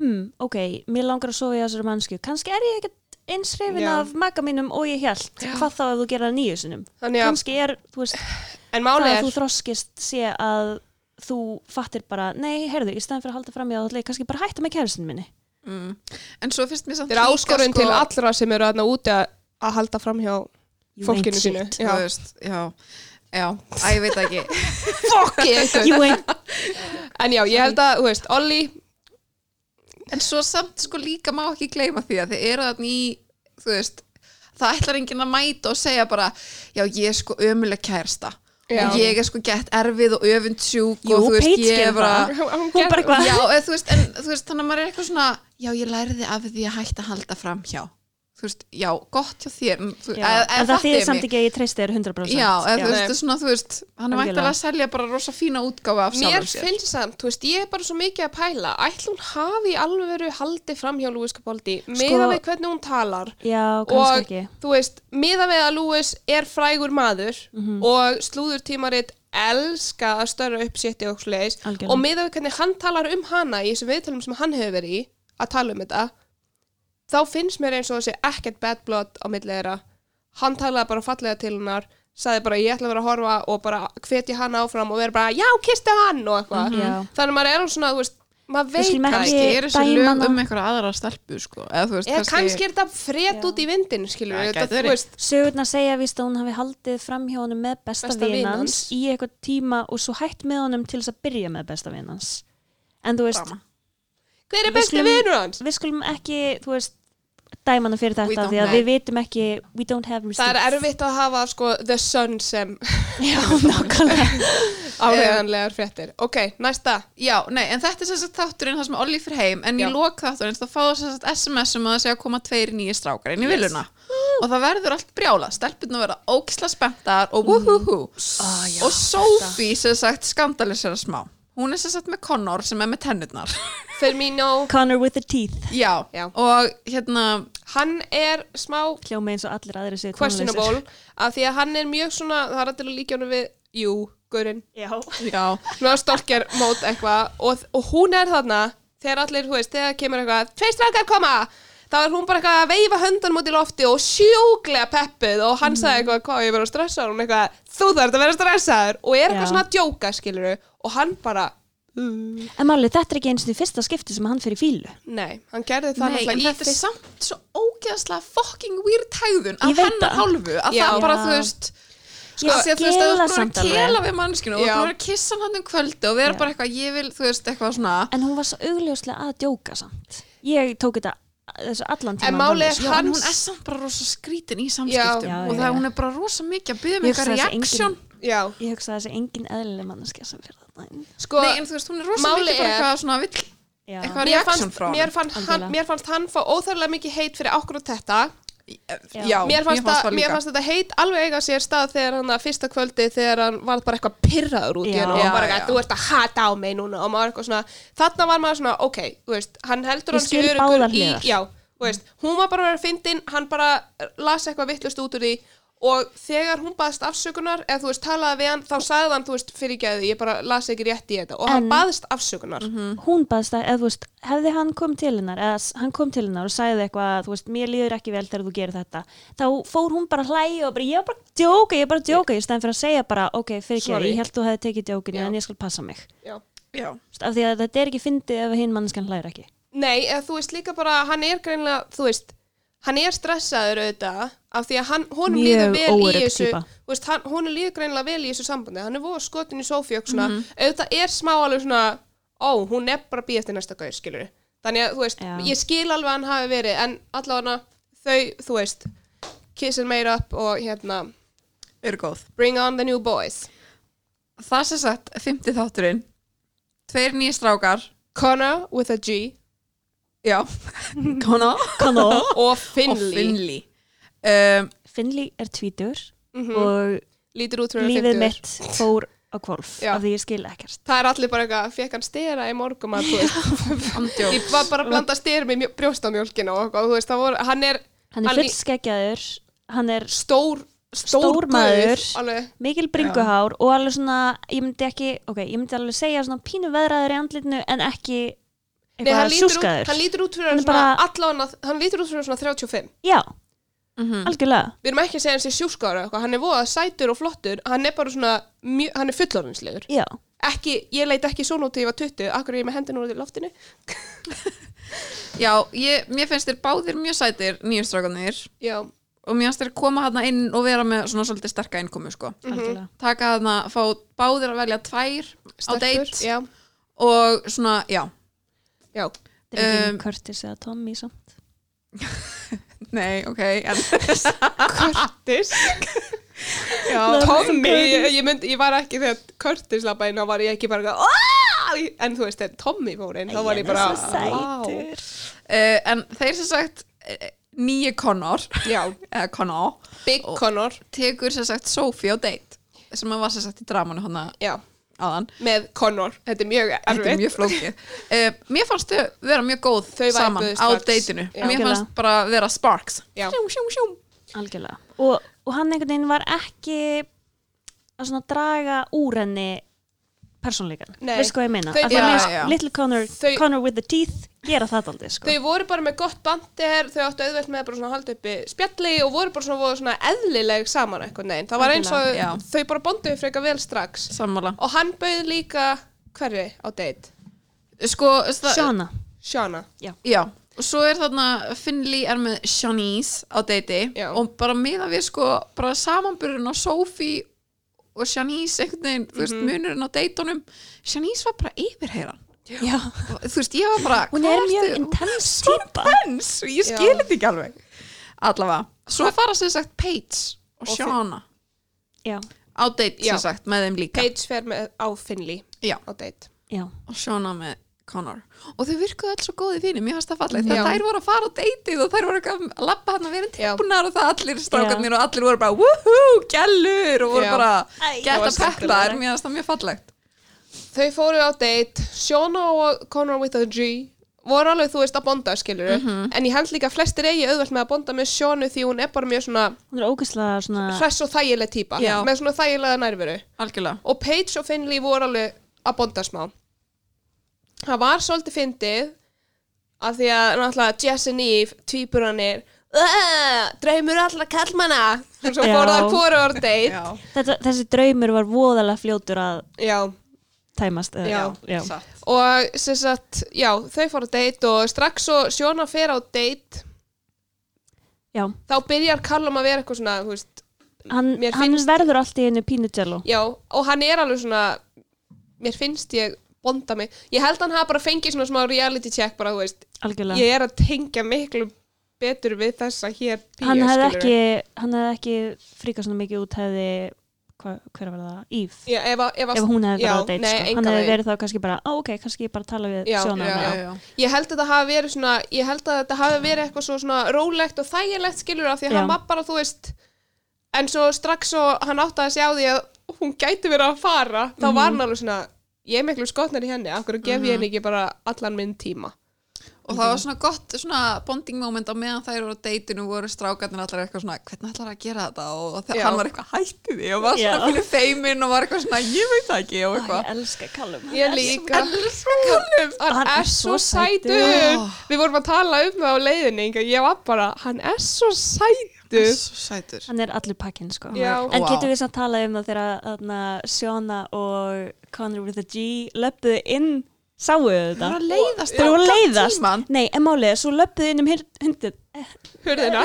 hmm, ok, mér langar að sofa í þessari mannsku kannski er ég ekkert eins hrifin
Já.
af maga mínum og ég held hvað þá ef þú gera það nýju sinum
Þannig að,
kannski er, þú veist,
en
það
málið
að
er
þú þroskist sé að þú fattir bara, nei, heyrðu, í stæðan fyrir að halda fram í aðalli, kannski bara hætta með kæristinu minni
Mm. En svo finnst mér samt sko,
þetta er áskorun til allra sem eru aðna úti að, að halda fram hjá
sko. You ain't
fólkinu sínu
shit.
Þú veist, já, já, að ég veit það ekki.
Fokki!
you ain't,
En já, ég held að, þú veist, Olli
En svo samt sko líka má ekki gleyma því að þið eru þannig í, þú veist, það ætlar enginn að mæta og segja bara, já, ég er sko ömuleg kærsta.
Já.
Og ég er sko gett erfið og öfundsjúk
Jú,
og þú veist,
Paige
ég er
gerir
bara...
það.
hún,
Hún bara eitthvað-
Já, eða, þú veist, en þú veist, þannig að maður er eitthvað svona já, ég læriði af því að hætta að halda fram hjá þú veist, já, gott hjá þér en, þú,
já, en það þýðir samt
ekki
ekki að ég treysti þér 100%
Já, eða, þú
Já.
veist, það er svona, þú veist, hann er
Algjörlega.
væntalega að selja bara rosa fína útgáfa af
Mér
sjálfum sér
finnst samt, þú veist, ég er bara svo mikið að pæla ætla hún hafi alveg verið haldið fram hjá Lewis Capaldi miða
Sko-
við hvernig hún talar
já kannski
og,
ekki
þú veist, miða við að Lewis er frægur maður og slúðurtímarit elska að störa upp sétti og sliðis
Algjörlega.
og miða við hvernig hann talar um hana í þessum viðtalum sem hann hefur verið í að tala um þetta þá finnst mér eins og þessi ekkert bad blood á milli þeirra hann talaði bara fallega til hennar sagði bara ég ætla að vera að horfa og bara hvetja hann áfram og vera bara já, kistu hann og eitthvað
Já.
þannig að maður er alveg svona, þú veist, maður veit
skulum
það
ekki-
ekki
Kannski eru þessi
dæma
lög
hana.
um einhverja aðra stelpu, sko eða, þú veist,
eða kannski er þetta
Já.
fret út í vindin skilur
Já,
við,
gæti
þetta,
verið.
þú veist
sögurnar segja víst að hún hafi haldið fram hjá honum með besta,
Besta
besta
vin
vinans
hans.
í eitthvað tíma og svo hætt með honum til þess að byrja með besta vinans en þú veist,
Drama.
hver er
Við
besti
skulum-
vinur hans?
við skulum ekki þú veist, dæmana fyrir
We
þetta
don't
því að
know.
við vitum ekki we don't have
Það er
receipts
erfitt að hafa sko the sun sem
Já, nákvæmlega
áhrifanlegar fréttir. Ok, næsta.
Já, nei, en þetta er sem sagt þátturinn það sem Olli fyrir heim, en
Já.
ég lók þátturinn þá fá það sem sagt SMS um að það sé að koma tveir nýjir strákar inn í viluna og það verður allt brjála, stelpunna verða óksla spenntar og wúhúhú og Sophie sem sagt skandalisera smá hún er sem sagt með Connor sem er með tennurnar
Firmino,
Connor with the teeth
já.
Já.
og hérna
hann er smá
hljóma eins og allir aðri sér
questionable af því að hann er mjög svona, það er allir að líka hann við, jú, gaurinn
já,
Já,
svona storkjar mót eitthvað og, og hún er þarna þegar allir, þú veist, þegar kemur eitthvað tvei strákar koma, þá er hún bara eitthvað að veifa höndan út í lofti og sjúklega peppuð og hann sagði
Mhm.
eitthvað, hvað ég verið að stressa og hún eitthvað, þú þarf að vera stressaður og er eitthvað
Já.
svona að djóka, skilur og hann bara, uh,
en máli, þetta er ekki eins og því fyrsta skipti sem hann fer í fílu
nei, hann gerði það
Nei,
náttúrulega
en
í
þetta er
fyrsta-
samt svo ógeðslega fucking weird hægðun af
Ég veit
hennar
það.
hálfu að
Já.
það bara,
Já.
þú veist
Ég
Sko, af því að þú veist,
skil
að þú
það
ert
samt
búin að
alveg.
kela við mannskinu og þú
Já.
ert búin að kissa hann um kvöldi og við erum
Já.
bara eitthvað, ég vil, þú veist, eitthvað svona
en hún var svo augljóslega að djóka samt ég tók þetta eh, þessu allan tíma
En málið er-
Já, en
Hans-
hún er samt bara rosa skrítin í samskiptum
Já,
já,
og
já,
það
já.
hún er bara rosa mikið að um byggja
Ég
með eitthvað
hugsa þessi
reaksjón
já,
ég hugsa þessi engin eðlileg manneskja sem fyrir þarna
sko
Nei, en þú veist, hún er rosa
Málið
mikið bara
er-
eitthvað svona vill
Já.
Eitthvað-
mér
reaction
fannst,
frá honum,
mér, fannst hann,
algjörlega.
mér fannst hann fá óþærlega mikið heit fyrir okkur og þetta
Já.
Já,
mér fannst, mér,
það
mér
líka
fannst þetta heit alveg eiga sér stað þegar hann að fyrsta kvöldi þegar hann var bara eitthvað pirraður út í
Já.
hennu og
Já,
bara eitthvað,
já.
þú ert að hata á mig núna og maður var eitthvað svona, þarna var maður svona ok, þú veist, hann heldur
Ég
hann sé
skil
öruggur
báðar
í,
hliðar.
já, þú veist, hún var bara að vera fyndin, hann bara las eitthvað vittlust út úr því og þegar hún baðst afsökunar, eða þú veist, talaði við hann þá sagði hann, þú veist, fyrirgæði, ég bara las ekki rétt í þetta og hann
En- Mhm.
baðst afsökunar
hún baðst að, eða þú veist, hefði hann kom til hennar, eða s- hann kom til hennar og sagði eitthvað, þú veist, mér líður ekki vel þegar þú gerir þetta, þá fór hún bara að hlæja og bara, ég var bara að djóka, ég var bara að djóka í stæðan fyrir að segja bara, ok, fyrir ekki,
Sorry.
ég held þú hefði tekið djókinu
Já.
en ég skal passa mig,
já.
Já,
Þú veist, af því að þetta er ekki fyndið ef hinn mannskan hlæra ekki.
Nei, eða þú veist líka bara, hann er greinlega, þú veist, hann er stressaður auðvitað af því að hann, honum
Mjög
líður vel í
óörugg
þessu,
týpa.
þú veist, hann, honum líður greinlega vel í þessu sambandi, hann er voða skotin í Sofíu og svona,
Mhm.
auðvitað er smá alveg svona, ó, hún er bara býð eftir næsta gaur, skilur Þannig að, þú veist,
Já.
ég skil alveg að hann hafi verið, en allavega þau, þú veist, kiss and made up og hérna,
eru góð
bring on the new boys.
Það sem sagt, fymti þátturinn Tveir nýja strákar
Connor with a G
Já, Kona
Kannó.
og Finley,
og Finley um,
Finley er tvítur
Mhm.
og
lítur út frá 50.
lífið mitt fór á kvolf,
Já.
af því ég skil ekkert.
Það er allir bara eitthvað, fekk hann stera í morgum að, þú veist,
Andjó
ég var bara að blanda styr með mjó- brjóstamjólkina og eitthvað, þú veist, það voru, hann er
Hann er
Hann í-
fullskeggjaður, hann er
stór, stór,
Stór
gaur,
maður.
alveg,
mikil bringuhár og alveg svona, ég myndi ekki, ok, ég myndi alveg segja svona pínu veðraður í andlitinu en ekki
nei, hann
eitthvað
lítur, út,
sjúskaður.
hann lítur út
Hann
fyrir
er
svona,
bara-
allan að, hann lítur út fyrir svona 35,
Já,
Mm.
Mhm.
algjörlega.
við erum ekki að segja hann sé sjúskára eitthvað, hann er voða sætur og flottur, hann er bara svona, mjö, hann er fullorðinslegur,
Já,
ekki, ég leit ekki svona út til ég var 20, akkur er ég með hendina úr í loftinu,
Já, ég, mér finnst þér báðir mjög sætir nýju strákanir
já,
og mér finnst þér koma hana inn og vera með svona svolítið sterka innkomu sko.
Mhm.
algjörlega.
Taka hana, fá báðir að velja tvær á deitt
já,
og svona, já,
já,
Þetta er ekki
Um,
um, Curtis eða Tommy samt.
nei, ok, en
Curtis,
já,
Tommy, ég, ég, mynd, ég var ekki þegar Curtis lappa inn og var ég ekki bara eitthvað, "Aah!" en þú veist, þegar Tommy fór inn, þá var ég bara,
Hann er svo sætur.
uh, en þeir sem sagt nýju konar,
Já,
eða konar,
Big
Og-
Connor
tekur sem sagt Sophie á deitt sem að var sem sagt í dramanu hana
Já,
aðan.
með Connor Þetta er mjög erfitt
Þetta er mjög flókið. Uh, mér fannst þau vera mjög góð
Þau
saman
væpuðu
á
strax.
deitinu.
Já.
Mér fannst bara vera sparks.
Já.
Sjúm, sjúm, sjúm.
Algjörlega. Og, og hann einhvern veginn var ekki að svona draga úr henni persónleikan.
Nei.
Veistu hvað ég meina?
Þau-
Þau,
Já,
já, mér,
já.
já. Little Connor,
Þau-
Connor with the teeth gera það aldrei, sko.
Þau voru bara með gott bandi her Þau áttu auðvelt með bara svona að halda uppi spjalli og voru bara svona, voru svona eðlileg saman einhvern veginn Það var eins og
Algjörlega, já.
þau bara bonduðu freka vel strax
Sammála.
Og hann bauð líka hverri á date
Sko, það-
Shana.
Shana
Já, og svo er þarna Finley er með Shanice á deiti
Já.
og bara meða við sko bara samanburðin á Sophie og Shanice einhvern veginn, þú
Mhm.
veist, munurinn á deitunum Shanice var bara yfirheyran
Já.
og þú veist, ég var bara
Hún
hvað
er mjög
ertu-
intense
Svo
típa.
intense, ég
Já.
skil þetta ekki alveg allavega, svo fara sem sagt Paige og Shana
Já,
á deit
Já.
sem sagt með þeim líka
Paige fer með á Finley
Já.
á date
já.
og Shona með Connor og þau virkuðu alls svo góði þínum, ég fannst það fallið
Já.
þegar þær voru að fara á deytið og þær voru eitthvað að labba hann að vera
Já.
tilbúnar og það allir strákarnir og allir voru bara woohoo, gælur og voru
Já.
bara
Æ,
það
gett
var
að peppa þær, mér fannst það mjög fallegt
Þau fóru á date Shana og Connor with a G voru alveg, þú veist, að bonda, skilur en ég held líka að flestir eigi auðvelt með að bonda með sjónu því hún er bara mjög svona
Hún er ógeðslega svona
hress og þægileg típa,
Já.
með svona þægilega nærveru
algjörlega
og Paige og Finley voru alveg að bonda smá það var svolítið fyndið af því að náttúrulega Jess and Eve tvíburannir "Ugh, draumur allra kallmanna og svo
Já.
fór það hvora orð deitt já,
þetta, Þessi draumur var voðalega fljótur að tæmast eða-
Já.
já.
satt.
og sem sagt, já, þau fóru að deitt og strax og Sjóna fer á deitt
já.
þá byrjar Callum að vera eitthvað svona þú veist,
Hann,
Mér
hann
finnst-
verður allt í einu pínu jello
já, og hann er alveg svona mér finnst ég bonda mig ég held hann hafa bara fengið svona smá reality check bara, þú veist,
algjörlega
ég er að tengja miklu betur við þessa hér bíu,
hann hefði
skilurðu.
ekki, hann hefði ekki fríkað svona mikið út hefði hva, hver var það, Íf
já, ef, að- ef,
ef hún hefði
já,
verið á date
nei,
sko.
engan
hann hefði
veginn.
verið þá kannski bara, ó ok, kannski ég bara tala við
Já,
sjónar
já,
Já,
já,
já.
ég held að þetta hafi verið svona ég held að þetta hafi verið eitthvað svo svona rólegt og þægilegt skilur af því að
Já.
hann var bara þú veist en svo strax og hann áttaði sig á því að hún gæti verið að fara þá var hann alveg svona ég er miklu skotnar í henni, af hverju gef ég henni ekki bara allan minn tíma
og það var svona gott svona bonding moment á meðan þær voru á deitinu voru strákarnir allar eitthvað svona hvernig ætlar að gera þetta og
Já.
þegar hann var eitthvað hætti því og var svona
Já.
fyrir feimin og var eitthvað svona ég veit það ekki og
ég
sko.
eitthvað
elska Callum
ég líka hann,
Hann
er svo sætur
sætur.
við vorum að tala um það á leiðinni Inga. ég var bara, hann er svo sætur
Svo sætur
hann er allir pakkinn sko
Já.
en
Vá.
getum við samt talað um það þegar þarna, Sjóna og Connor with a G löppuðu inn, sáu þau þetta
að leiðast
þeir voru að leiðast
tíman.
nei, en málið, er, svo löppuðu inn um hir- hundin
hurðina,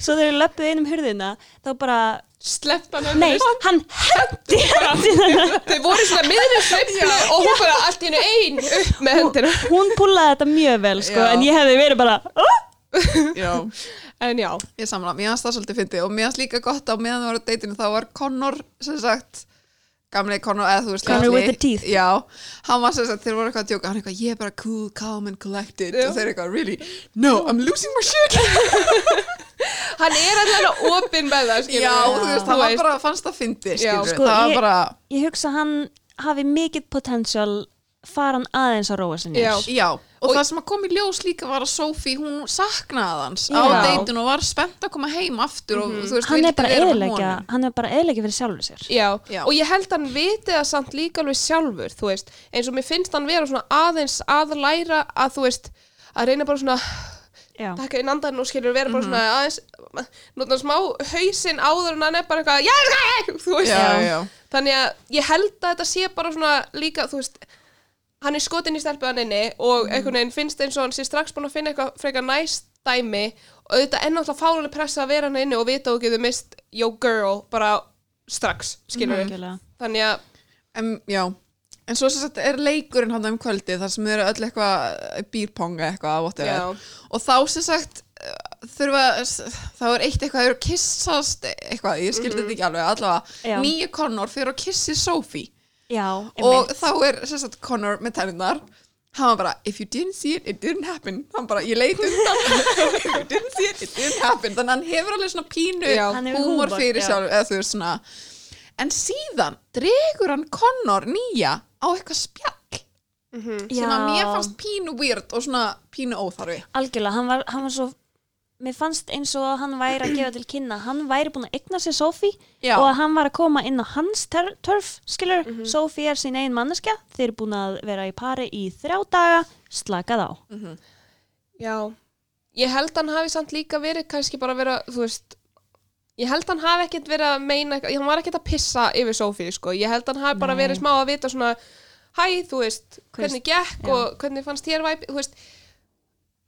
svo þeir löppuðu inn um hurðina þá bara,
sleppt hann
nei, hann hendi hendina
þau voru svona miðri sveiflu og hún bara allt í hennu ein upp með hendina
hún púlaði þetta mjög vel sko,
Já.
en ég hefði verið bara oh!
Já,
en já,
ég samla, mér finnst það svolítið fyndið og mér finnst líka gott að á meðan það voru á deitinu þá var Connor sem sagt gamli Connor, eða þú veist
Connor
litli-
with the teeth.
Já, hann var sem sagt, þeir voru eitthvað að djóka hann eitthvað, ég er bara cool, calm and collected
Já.
og þeir eitthvað, really, no, I'm losing my shit
hann er alltaf opinn með það skilur
Já,
við.
þú veist,
Þú
það var
veist.
bara, fannst það fyndi,
Já.
skilur
Sko,
það var
ég-
bara,
ég hugsa að hann hafi mikið potential fara hann aðeins að róa sinni
Já.
já og, það sem að kom í ljós líka var að Sophie, hún saknaði hans á
Já.
deitun og var spennt að koma heim aftur og þú veist,
hann er
vildi
bara
vera með
eðilegja
honum.
hann er bara eðilegja fyrir sjálfur sér
Já.
Já.
og ég held hann viti það samt líka alveg sjálfur, þú veist, eins og mér finnst hann vera svona aðeins að læra að þú veist, að reyna bara svona
já,
taka inn andan og skilur vera
Mhm.
bara svona aðeins, notna smá hausinn áður en hann er bara eitthvað, já, já, já, þú veist
Já, já.
þannig að ég held að þetta sé bara svona líka, þú veist hann er skotinn í stelpuðaninni og
Mhm.
einhvern veginn finnst eins og hann sé strax búin að finna eitthvað frekar næst dæmi og þetta er náttúrulega fáluleg pressa að vera hann inni og vita og getur mist yo girl bara strax, skilur við
Mhm.
algjörlega.
þannig að,
En, já, en svo sem sagt er leikurinn hann um kvöldið þar sem þau eru öll eitthvað býrponga eitthvað, whatever
Já.
og þá sem sagt eh, þurfa, þá er eitt eitthvað þau eru að kissast eitthvað, ég skildi þetta ekki alveg
Já.
allavega, nýju Connor fyrir að kissi Sophie
já,
og
einmitt.
þá er sem sagt Connor með tennunar hann var bara, if you didn't see it, it didn't happen hann bara, ég leit undan if you didn't see it, it didn't happen þannig að hann hefur alveg svona pínu
Já.
Hann hefur
húmor
húmor,
fyrir
já.
sjálf eða þú veist svona en síðan dregur hann Connor nýja á eitthvað spjall
já,
mhm.
sem að mér fannst pínu weird og svona pínu óþarfi
algjörlega, hann var, hann var svo mér fannst eins og hann væri að gefa til kynna hann væri búin að egna sér Sophie
Já. Mhm.
og að hann var að koma inn á hans ter- törf skilur, Sophie er sín einn manneskja þeir eru búin að vera í pari í þrjá daga slakað á
já ég held hann hafi samt líka verið kannski bara að vera, þú veist ég held hann hafi ekkert verið að meina eitthvað hann var ekkert að pissa yfir Sophie, sko ég held hann hafi bara
Nei.
verið smá að vita svona hæ, þú veist, hvernig gekk
já.
og hvernig fannst þér væpi, þú veist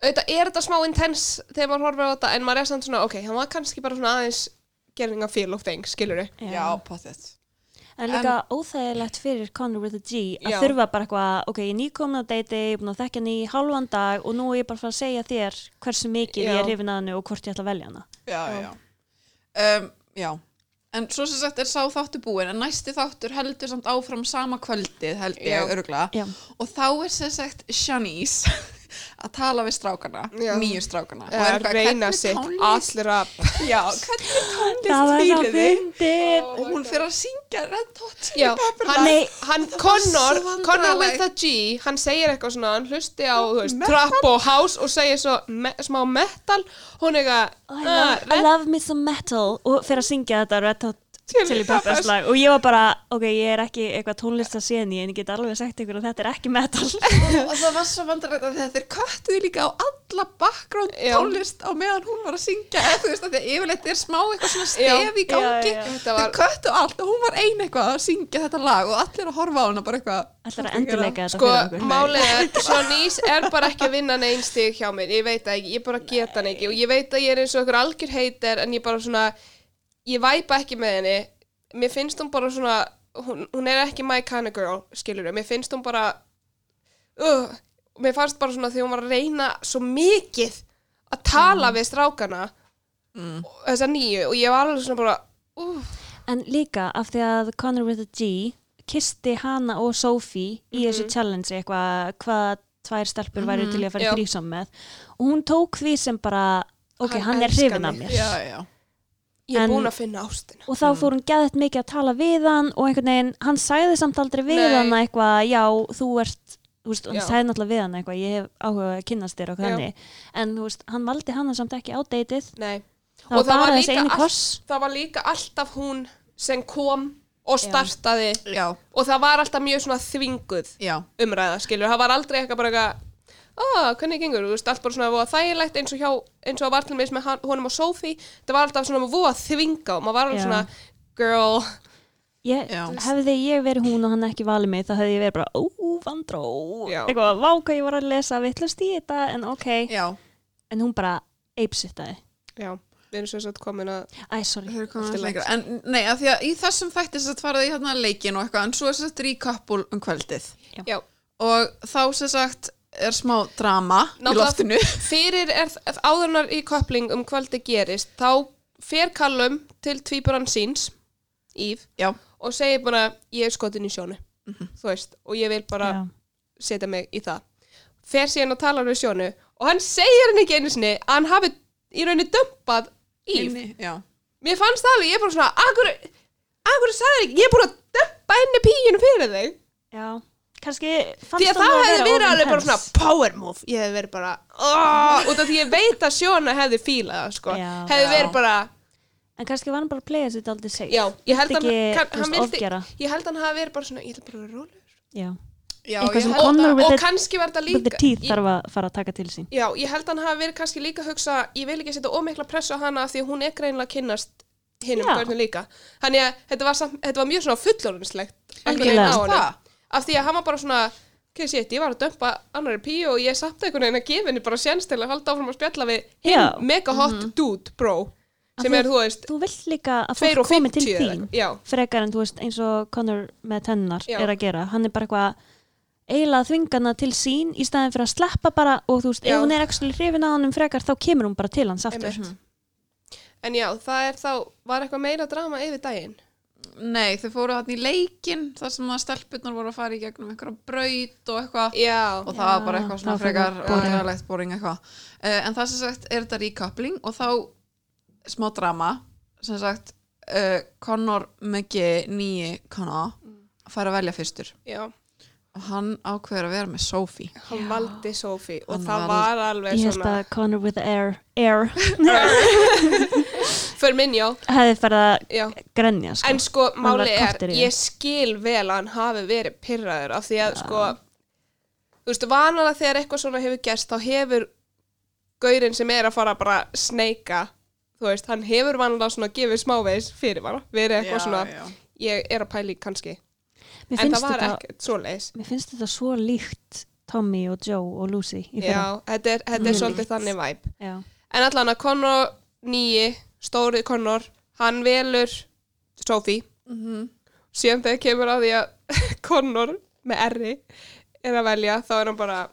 auðvitað er þetta smá intense þegar maður horfir á þetta, en maður er samt svona ok, hann var kannski bara svona aðeins gerðinga feel of things, skilur við
pottet
En líka óþægilegt fyrir Connor with a G að
Já.
þurfa bara eitthvað, ok, ég er nýkomin á deiti, ég er búin að þekkja hann í hálfan dag og nú er ég bara að fara að segja þér hversu mikið ég
Já.
er hrifin að hennu og hvort ég ætla að velja hana.
já, já. Um, já. En svo sem sagt er sá þáttur búin en næsti þáttur heldur samt áfram sama kvöldið held ég
Já.
öruglega
Já.
og þá er sem sagt Shanice að tala við strákana,
Já.
nýju strákana og er
Eða
eitthvað,
reyna
hvernig
sig
tónlist-
allra
Já, hvernig
það
tónlist
var svo
fýlið þið?
fyndið
Og hún fyrir að syngja Red Hot Chili
Já,
Peppers
hann,
Nei.
hann
var
Connor,
svo
Connor
vandræðalegt.
with a G, hann segir eitthvað svona, hann hlusti á, þú veist,
Metal.
trap og house og segir svo me, smá metal, hún eitthvað,
Oh, I,
"Ah,
love, I
red
love me some metal og fyrir að syngja þetta Red Hot
Chili
Chili Peppers
Peppers.
lag og ég var bara, ok, ég er ekki eitthvað tónlist að séni en ég get alveg sagt ykkur að þetta er ekki metal
og það var svo vandrarætt að þeir köttuðu líka á alla background
Já.
tónlist á meðan hún var að syngja eða þú veist að því að yfirleitt er smá eitthvað
Já,
svona stef í
já,
gangi
já.
Þetta var-
þeir köttu allt og hún var ein eitthvað að syngja þetta lag og allir að horfa á hana bara eitthvað
Ætlar að endurleika þetta
Sko,
fyrir okkur
málið er, Sonís er bara ekki að vinna neinn stig hjá mér, ég veit það ekki, ég bara get hann ekki og ég veit að ég er eins og ykkur algjör heitir en ég bara svona, ég væpa ekki með henni, mér finnst hún bara svona, hún, hún er ekki my kind of girl, skilur mér finnst hún bara, uh, mér fannst bara svona því hún var að reyna svo mikið að tala við strákana,
Mm.
og þessa nýju og ég var alveg svona bara, uh,
en líka af því að Connor with a G kisti hana og Sophie í þessu challenge eitthvað hvað tvær stelpur væri til í að fara
Mhm. Já.
í þrísom með og hún tók því sem bara ok,
Hann
hann, er
elskar
hrifin af
mig.
mér
já, já.
ég er
En-
búin að finna ástina.
og þá fór hún gæðið mikið að tala við hann og einhvern veginn, hann sagði samt aldrei við
Nei.
hann eitthvað, já, þú ert þú veist, hann
Já.
sagði náttúrulega við hann eitthvað, ég hef áhuga að kynnast þér og
Já.
hvernig en þú veist, hann valdi hann samt ekki ádeytið
Nei.
Það var bara þessi
líka
eini
allt-
koss.
Það var líka alltaf hún sem kom og startaði
já,
og það var alltaf mjög svona þvinguð
já.
umræða, skilur. Það var aldrei eitthvað bara eitthvað, ó, hvernig gengur, þú veist, allt bara svona voða þægilegt eins og hjá, eins og var til meins með hann- honum og Sophie. Það var alltaf svona voða þvinga og maður var alveg
Já.
svona, girl,
ég,
Já.
hefði ég verið hún og hann ekki valið mig þá hefði ég verið bara, ó, vandró
Já.
eitthvað, vá hvað ég var að lesa vittlust í þetta, en ok,
já.
en hún bara eipsittaði,
já, við erum svo satt komin að,
æ, sorry
Allt í lagi.
en nei, að því að í þessum þætti þess að faraði í hérna leikin og eitthvað en svo er þess að ríkappul um kvöldið
já,
og þá sem sagt er smá drama í loftinu
fyrir er áðurnar í koppling um kvöldi gerist, þá fer Callum til tvíburan síns, Ív,
já,
og segir bara ég er skotin í sjónu þú veist, og ég vil bara
Mhm. Já.
setja mig í það fer síðan og talar við sjónu og hann segir henni ekki einu sinni að hann hafi í rauninni dömpað Íf
inni, já
mér fannst það alveg, ég er bara svona akkur, akkur sagði ekki, ég er búin að dömpa henni píinu fyrir þig
já, kannski
því
fannst
að það
honum
hefði
vera
verið alveg bara
overtense.
svona power move, ég hefði verið bara oh, út af því ég veit að sjóna hefði fílað það, sko,
Já.
hefði
Já.
verið bara
en kannski var hann bara að playa þetta aldrei safe
já, ég held
Vildi
hann,
ekki,
kann,
þú
hann
veist,
vildi,
ofgera.
ég held hann hafi verið bara svona, ég ætla bara að vera rólegur
já.
Já,
Eitthvað
ég
sem
held-
og,
Connor with
og
the-
kannski var þetta
Líka,
líka
tíð
ég-
þarf að fara að taka til sín
Já, ég held hann hafi verið kannski líka að hugsa ég vil ekki setja ómikla pressu á hana af því að hún er greinilega að kynnast hinnum
Já.
hvernig líka þannig að þetta var, samt, þetta var mjög svona fullorðinslegt
Algjörlega.
honum. af því að hann var bara svona okay, shit, ég var að dömpa annari píu og ég samt einhvern veginn að gefa henni bara séns til að halda áfram að spjalla við hinn
Já.
mega hot dude bro sem
Af
er, þú veist,
þú vilt líka að
tveir
fólk
og
komi til
50 eða-
þín
Já,
frekar en þú veist eins og Connor með tennar
Já.
er að gera hann er bara eitthvað eiginlega að þvinga hana til sín í staðin fyrir að sleppa bara og þú veist,
Já.
ef hún er ekki hrifin að honum frekar þá kemur hún bara til hans aftur
einmitt En já, það er þá, var eitthvað meira drama yfir daginn
Nei, þau fóru hann í leikin þar sem að stelpurnar voru að fara í gegnum einhverja braut og eitthvað
Já,
og það var bara eitthvað svona
það var
frekar
frekar boring.
aðræðalegt boring eitthvað uh, en það sem sagt er þetta ríkapling og þá smá drama sem sagt uh, Connor McGee, nýji Connor fær að velja fyrstur
já,
og hann ákveður að vera með Sophie
hann valdi Sophie og
Hann
það
valdi-
var alveg
ég held
svona
að Connor with the air, air
Fyrir minn, já,
hefði farið að
já.
grenja sko.
En sko,
var
máli er,
korter í það.
ég skil vel að hann hafi verið pyrraður af því að, sko, þú veist, vanalega þegar eitthvað svona hefur gerst, þá hefur gaurinn sem er að fara bara að sneika, þú veist, hann hefur vanalega svona gefið smávegis fyrir vana, verið eitthvað svona,
já.
ég er að pæli kannski,
mér,
en
finnst
það var
þetta,
ekkert svoleiðis.
mér finnst þetta svo líkt Tommy og Joe og Lucy í fyrra.
Já, þetta er, þetta
Mm.
er svolítið þannig væp.
Já.
En allan að Connor nýi, stóri Connor, hann velur Sophie
Mhm.
síðan þegar kemur að því að Connor með erri er að velja þá er hann bara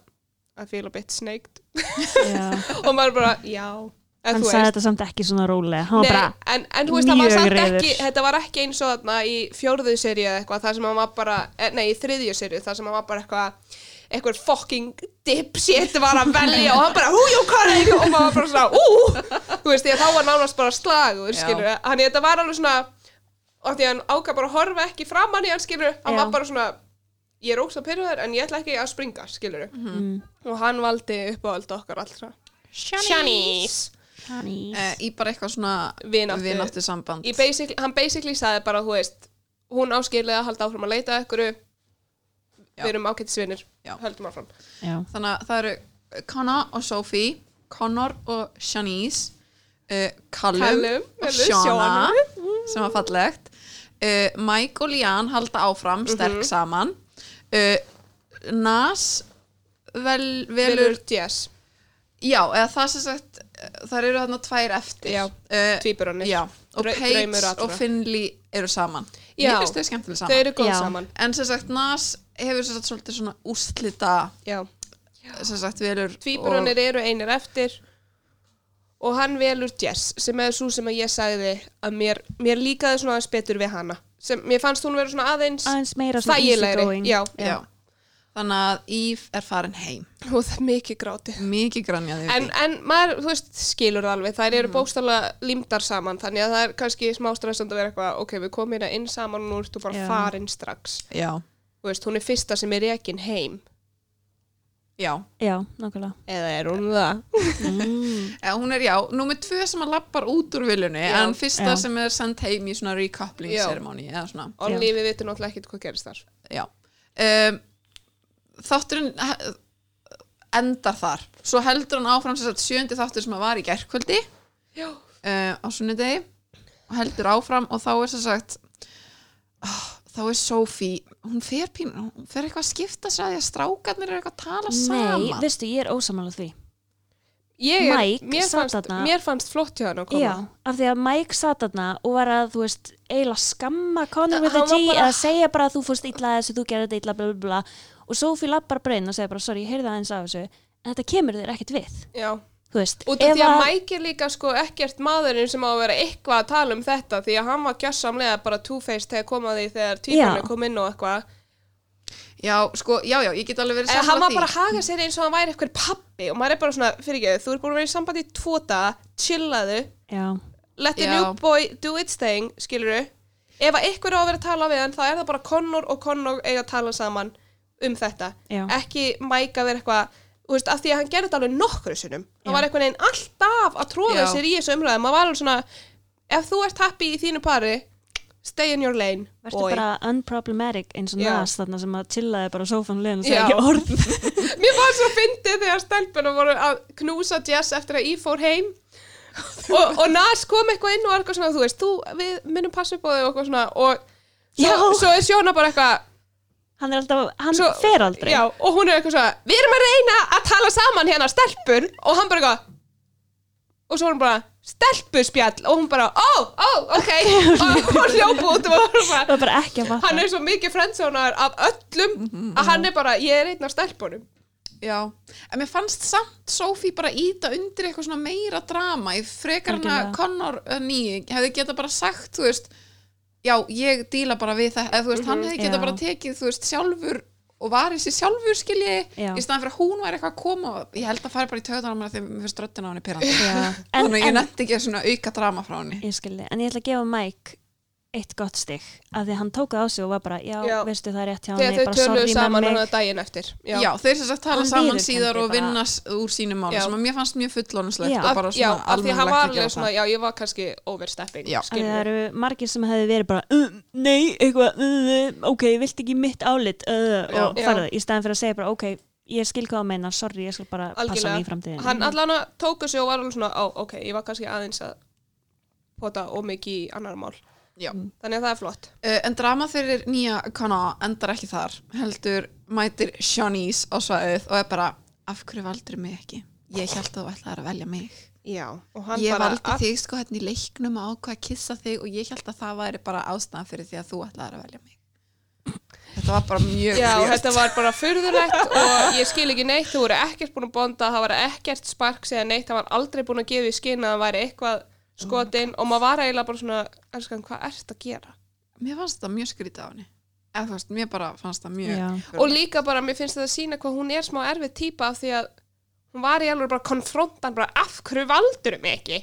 að feel a bit snaked
Já.
og maður bara, já En
hann
þú
sagði
veist,
þetta samt ekki svona rólega hann
nei,
var bara,
en, en þú veist, það var
mjög
samt
reiður.
ekki þetta var ekki eins og þarna í fjórðu serið eða eitthvað, það sem hann var bara, eh, nei, í þriðju serið það sem hann var bara eitthvað einhver fucking dipshit var að velja og hann bara hújókarið og maður var bara svona ú þú veist því að þá var nánast bara slagur
Já.
skilur þannig að þetta var alveg svona og því að hann ákvað bara að horfa ekki framan í hann skilur hann
Já.
var bara svona ég er ógst að pyrraður en ég ætla ekki að springa skilur
Mhm. "Mm,
og hann valdi uppáhald okkar allra Shanice
Eh, í bara eitthvað svona
Vináttu.
vináttu samband
Ég basically, hann basically sagði bara, þú veist, hún áskilið að halda áfram að leita að ykkur,
Já.
við erum ákettisvinir,
Já.
höldum áfram.
Já.
þannig að það eru Connor og Sophie Connor og Shanice uh, Callum,
Callum,
og
eller
Shona sem var fallegt uh, Mike og Lian halda áfram
Mhm.
sterk saman uh, Nas vel, velur
Velur Jess,
já, eða það sem sagt eh, þær eru þarna tvær eftir
Já,
Eh,
tvíburarnir.
já, og
Dra- draumur
Paige
allra.
og Finley eru saman
Já.
mér finnst þau skemmtileg
þau
saman
eru góð
Já.
saman.
en sem sagt Nas hefur sem sagt svolítið svona úslita
Já.
sem sagt velur
Tvíburunir eru einir eftir og hann velur Jess, sem er svo sem að ég sagði að mér, mér líkaði svona aðeins betur við hana. Sem, mér fannst hún vera svona aðeins
aðeins meira svona
þægilegri.
easygoing.
Já,
og, já. þannig að Íf er farin heim
og það er mikið gráti.
mikið grannjaði
En, en maður, þú veist, skilur það alveg, þær eru
Mhm.
mm. bókstálega límdar saman, þannig að það er kannski smá stressand að vera eitthvað, ok, við komum hérna inn saman og nú ertu bara
Já.
farin strax.
já,
Þú veist, hún er fyrsta sem er rekin heim,
já
Já, nákvæmlega.
eða er hún það?
Mm,
Eða, hún er já, númer tvö sem að lappar út úr viljunni
Já.
en fyrsta
Já.
sem er sendt heim í svona recoupling
Já.
ceremony eða svona,
Og
Já.
lífið vitur náttúrulega ekkert hvað gerist þar.
já um, þátturinn eh, endar þar svo heldur hann áfram sem sagt sjöndi þáttur sem að var í gærkvöldi
Já.
uh, á sunnudegi og heldur áfram og þá er sem sagt oh, þá er Sophie hún fer pín, hún fer eitthvað að skipta sér að því að strákarnir eru eitthvað að tala
Nei,
saman
veistu, ég er ósamála því.
Ég er,
Mike
mér,
sat
fannst,
þarna.
mér fannst flott hjá hann að koma.
Já, af því að Mike satt þarna og var að, þú veist, eiginlega skamma Connor
Þa-
with a
hann var
G
bara-
eða segja bara að þú fórst illa að þessu, þú gerði þetta illa, bla bla bla og Sophie lappar bara inn og segir bara, sorry, ég heyrði aðeins af þessu en þetta kemur þér ekkert við,
Já.
þú veist
Út af því að
að-
Mike er líka sko ekkert maðurinn sem á að vera eitthvað að tala um þetta því að hann var gjössamlega bara two-faced þegar komaði þegar
Já.
tvíbrunni kom inn og eitthvað.
já, sko, já, já, ég get alveg verið
Eða Eh, hann
sammála
var
því.
bara að haga sér eins og hann væri eitthvað pappi og maður er bara svona, fyrir ekki, þú er búin að vera í sambandi í tvo daga, chillaðu,
Já,
let the
Já.
new boy do its thing, skilur du? Ef að eitthvað er á að vera að tala við hann, þá er það bara Connor og Connor eiga að tala saman um þetta.
Já.
Ekki Mike að vera eitthvað, þú veist, af því að hann gerði þetta alveg nokkru sinnum.
Já.
Hann var eitthvað neginn alltaf að tróða
Já.
sér í þessu umræðum. Maður var alveg svona, ef þú ert happy í þínu pari, stay in your lane,
verður bara unproblematic eins og
Já.
nas þarna sem að chillaði bara á sófann liðan og segja
Já.
ekki orð
Mér var svo fyndið þegar stelpunum voru að knúsa Jess eftir að ég fór heim og, og Nas kom eitthvað inn og var eitthvað svona, þú veist, þú, við munum passa upp á þau og eitthvað svona og
Já.
svo, svo er Sjóna bara eitthvað
Hann er alltaf, hann
svo,
fer aldrei
Já, og hún er eitthvað svona, við erum að reyna að tala saman hérna stelpur og hann bara eitthvað og svo er hún bara, stelpuspjall og hún bara, ó, ó, ok og hún hljópa út og var bara
Það er bara ekki að fatta
hann er svo mikið frendsonar af öllum að hann er bara, ég er einn af stelpunum
Já, en mér fannst samt Sophie bara íta undir eitthvað svona meira drama í frekar hann að
Algjörlega.
Connor eh, ný hefði geta bara sagt, þú veist já, ég díla bara við það eða þú veist, hann hefði geta
Já.
bara tekið, þú veist, sjálfur og varið sér sjálfur skilji
Já.
í staðan fyrir að hún væri eitthvað að koma og ég held að fara bara í töðan á mér þegar mér finnst röddina á henni pyrrandi
Já. En,
þannig að ég
en,
nefndi ekki að svona auka drama frá henni
ég skildi, en ég ætla að gefa Mike eitt gott stygg, af því að hann tók það á sig og var bara, já,
Já.
veistu það er rétt hjá hann
þegar þau
bara
töluðu
sorry
saman
með
hann
mig
að daginn eftir
Já, þeir sem sagt tala
Hann
saman
viðurkenndi
síðar og
bara-
vinna s- úr sínum máli
Já.
sem að mér fannst mjög fullónuslegt
Já.
og bara
Af- já,
svona
af því hann var
almennilegt að gera
alveg
það.
svona, já, ég var kannski overstepping,
Já.
að það
skilur
eru margir sem hefði verið bara uh, nei, eitthvað, uh, uh, ok, vilt ekki mitt álit uh,
Já.
og
Já.
farðu, í staðan fyrir að segja bara, ok, ég skil hvað að meina sorry, ég skal bara passa mig í framtíðinu
Hann allan að tóku sig og var alveg svona, á, ok, ég var kannski aðeins að pota ómikið í annar mál.
Já.
Þannig að það er flott.
Uh, en drama fyrir nýja Kana endar ekki þar heldur mætir Shanice á svæðið og er bara af hverju valdur mig ekki ég held að þú ætlaði að velja mig
Já, og hann
ég
bara,
valdi þig sko hérna í leiknum að ákvað að kissa þig og ég held að það væri bara ástæðan fyrir því að þú ætlaði að velja mig þetta var bara mjög
já,
weird.
þetta var bara furðulegt og ég skil ekki neitt, þú voru ekkert búin að bonda, það var ekkert sparks eða neitt, það var aldrei búin að gefa í skinn að það væri eitthvað skotinn og maður var eiginlega bara svona, elskan, hvað ert að gera?
mér fannst þetta mjög skrítið á henni eða þú veist, mér bara fannst það mjög
Já.
og líka bara, mér finnst þetta að sína hvað hún er smá erfið típa af því að hún var í alveg bara konfrontan bara af hverju valdurum ekki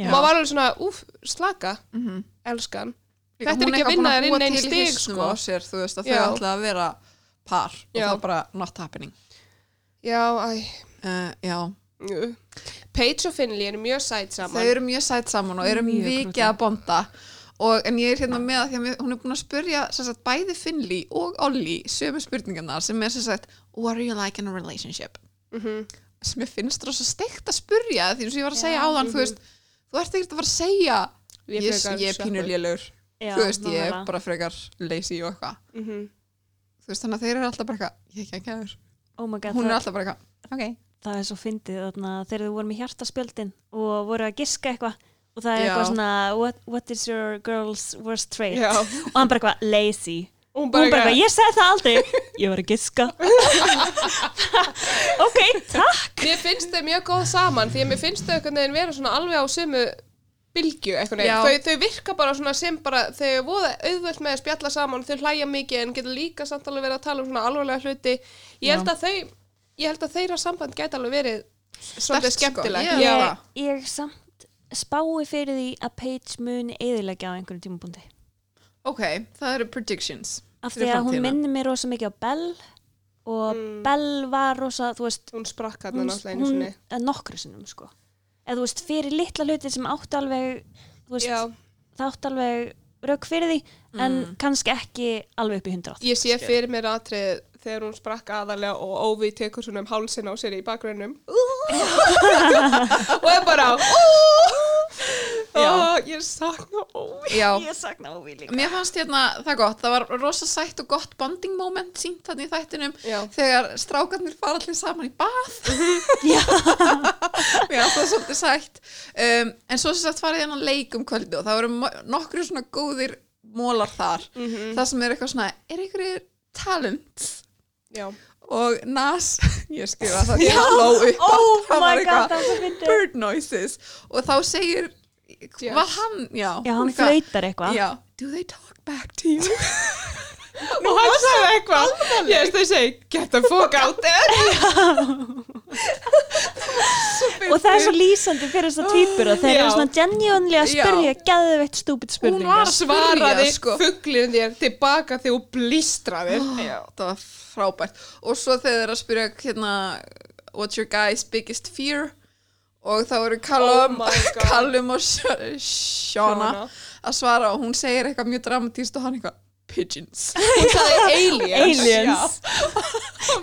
Já.
og maður var alveg svona, úf, slaka
mm -hmm.
elskan,
Líka,
Þetta er
hún
ekki að
eitthvað
vinna
búin
þér
búa
inn einn
til
stig,
hausnum
sko.
á sér, þú veist, að
Já.
þau ætla að vera par og
Já.
það er bara not happening
já, æ
uh, já,
jú. Paige og Finley eru mjög sæt saman
þau eru mjög sætt saman og eru
Mjög
mikið
krúttlegt.
að bonda og en ég er hérna með að því að mér- hún er búin að spurja sem sagt, bæði Finley og Olli sömu spurningarna sem er sem sagt what are you like in a relationship
Mhm.
sem ég finnst rosa steikt að spurja því eins og ég var að
Já, mhm.
segja áðan, þú veist þú ert ekkert að fara að segja
Ég
ég, ég,
frekar
er pínur
slappur.
lélugur
Já,
þú veist, ég er
nákvæmlega.
bara frekar lazy og eitthvað
Mhm.
þú veist, þannig að þeir eru alltaf bara eitthvað ég er ekki að kæður
oh my God,
hún er
það,
alltaf bara eitthvað ok
það er svo fyndið þarna, þegar þú voru með hjartaspjöldin og voru að giska eitthvað og það er
Já.
eitthvað svona what, what is your girl's worst trait
já,
og hann bara eitthvað lazy
hún
og hún bara
eitthvað,
eitthvað, ég segi það aldrei ég var að giska ok, takk
Mér finnst þau mjög góð saman því að mér finnst þau einhvern veginn vera svona alveg á sömu bylgju einhvern
Já.
veginn. Þau, þau virka bara svona sem bara, þau er voða auðvöld með að spjalla saman, þau hlæja mikið en getur líka samt alveg verið að tala um svona alvarlega hluti. Ég held að þau, ég held að þeirra samband gæti alveg verið svolítið
Sterkt, sko.
skemmtilegt.
Já.
Já.
ég, ég samt spái fyrir því að Paige muni eðilegja á einhverjum tímabundi
ok, það eru predictions
af því
Fyrir
að hún
framtíðina.
minnir mér rosa mikið á Bell og
Mm.
Bell var rosa, þú veist
Hún sprakk hann
hún,
náttúrulega einu
hún
sinni.
eh, nokkru sinnum sko eða þú veist, fyrir litla hluti sem áttu alveg þú veist,
Já,
það áttu alveg rauk fyrir því en kannski ekki alveg upp í 100
ég sé fyrir mér atrið þegar hún sprakk aðalega og Óvi tekur svona um hálsin á sér í bakgrunum og er bara
Já.
Ó, ég sakna Óvi
já,
ég sakna Óvi líka
mér fannst hérna það gott það var rosa sætt og gott bonding moment sínt þannig í þættinum
Já.
þegar strákarnir fara allir saman í bað
Já.
mér fannst það svolítið sætt um, en svo sem sagt farið hérna leik um kvöldu og það voru mo- nokkru svona góðir mólar þar
Mhm.
Mm.
það sem er eitthvað svona, er einhverjir talent
Já,
og nas ég skrifa það, ég hló upp
oh
það var
my god, það var svo fyndið
bird noises og þá segir
Yes.
var hann, já,
já, hann
eitthvað-
flautar eitthvað
já, do they talk back to you
og hann sagði eitthvað yes, they say, get the fuck out there
og það er svo lýsandi fyrir þessar týpur og þeir
Já.
eru svona genuinely að
Já.
spyrja geðveitt stúpid
Hún var
spurningar
að
svaraði
spyrja, sko.
fugglinn þér tilbaka þegar hún blístraði oh.
það var frábært og svo þegar þeir eru að spyrja hérna what's your guy's biggest fear og þá eru Callum,
Oh my God.
Callum og Sh- Shauna
Shauna.
að svara og hún segir eitthvað mjög dramatíst og hann eitthvað pigeons
hún sagði aliens,
aliens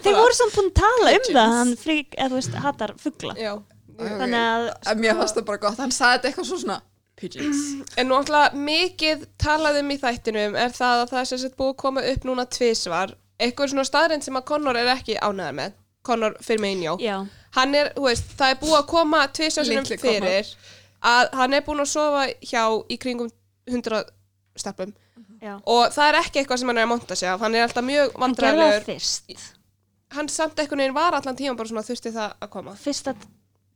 þeir voru samt búin að tala um það hann frík, eða þú veist, hattar fugla
Já. Já.
Ok.
þannig að sko-
en mér fannst það bara gott, hann sagði þetta eitthvað svo svona pigeons
En náttúrulega mikið talaðum í þættinum er það að það er sem sett búið að koma upp núna tvisvar. Eitthvað svona staðrind sem að Connor er ekki ánæðar með. Connor fyrir mig innjó.
já,
Hann er, þú veist, það er búið að koma tvisvar sinum
Litli Connor.
fyrir að hann er búin að sofa hjá í kringum 100 steppum.
já.
og það er ekki eitthvað sem hann er að monta sig af hann er alltaf mjög
hann gerði það
vandræðilegur
fyrst
hann samt einhvern veginn var allan tíma bara svona þurfti það að koma
fyrsta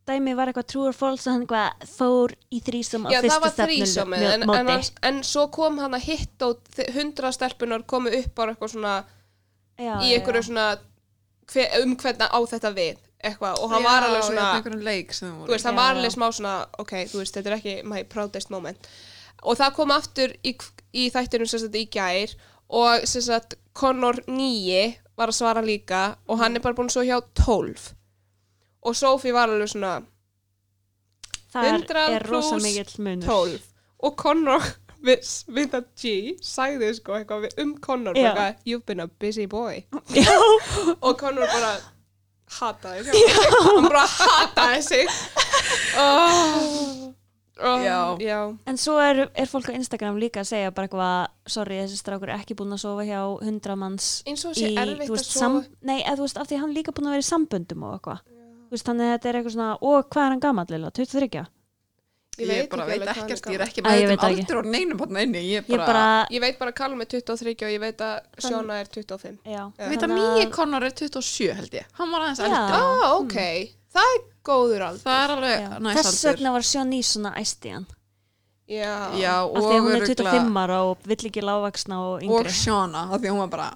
dæmi var eitthvað true or false og hann eitthvað fór í þrísom á
já það
fyrsta
var
stefnu
þrísómið en, en,
móti
hans- en svo kom hann að hitt og hundra stelpunar komu upp bara eitthvað svona
já,
í einhverju svona hver, um hvernig á þetta við eitthvað og hann var alveg svona
einhverjum leik sem
þú
þau voru
veist, hann
Já,
var
já.
alveg smá svona ok, þú veist, þetta er ekki my proudest moment og það kom aftur í, í þættinum sem sagt í gær og sem sagt Connor 9 var að svara líka og hann er bara búin svo hjá 12 og Sophie var alveg svona
þar
100
er rosa
plús
mikill munur
12 og Connor við, við það G sagði sko eitthvað við- um Connor
Já.
bara, you've been a busy boy
já,
og Connor bara hataði sig hann bara hataði sig oh. Oh.
Já.
já
en svo er, er fólk á Instagram líka að segja bara eitthvað sorry, þessi strákur er ekki búinn að sofa hjá 100 manns
eins og sé erfitt
þú
að
veist,
sofa
sam, nei, eða þú veist, af því hann er líka búinn að vera í samböndum og eitthvað Þú veist, þannig að þetta er eitthvað svona, og hvað er hann gammal lilla, 23?
ég
ég bara
ekki alveg
veit
hvað hann
ekkert, ég
gamall.
er ekki með
Æ, ég veit
þetta
það ekki.
aldur og neinum hann inni ég
Ég
bara,
bara,
ég veit bara að Callum er 23 og ég veit að Sjóna er 25
já
ég veit að Míi Connor E er 27 held ég Hérna- hann var aðeins
Já.
ó
eldri
ah, ok, það er góður aldur
það er alveg
Já.
næs
Þess
aldur
vegna var Sjón í svona æsti hann
Já.
já,
af því að
og
hún er
örugglega-
25 ára og vill ekki lágvaksna og
og
yngri
Shauna, af því að hún var bara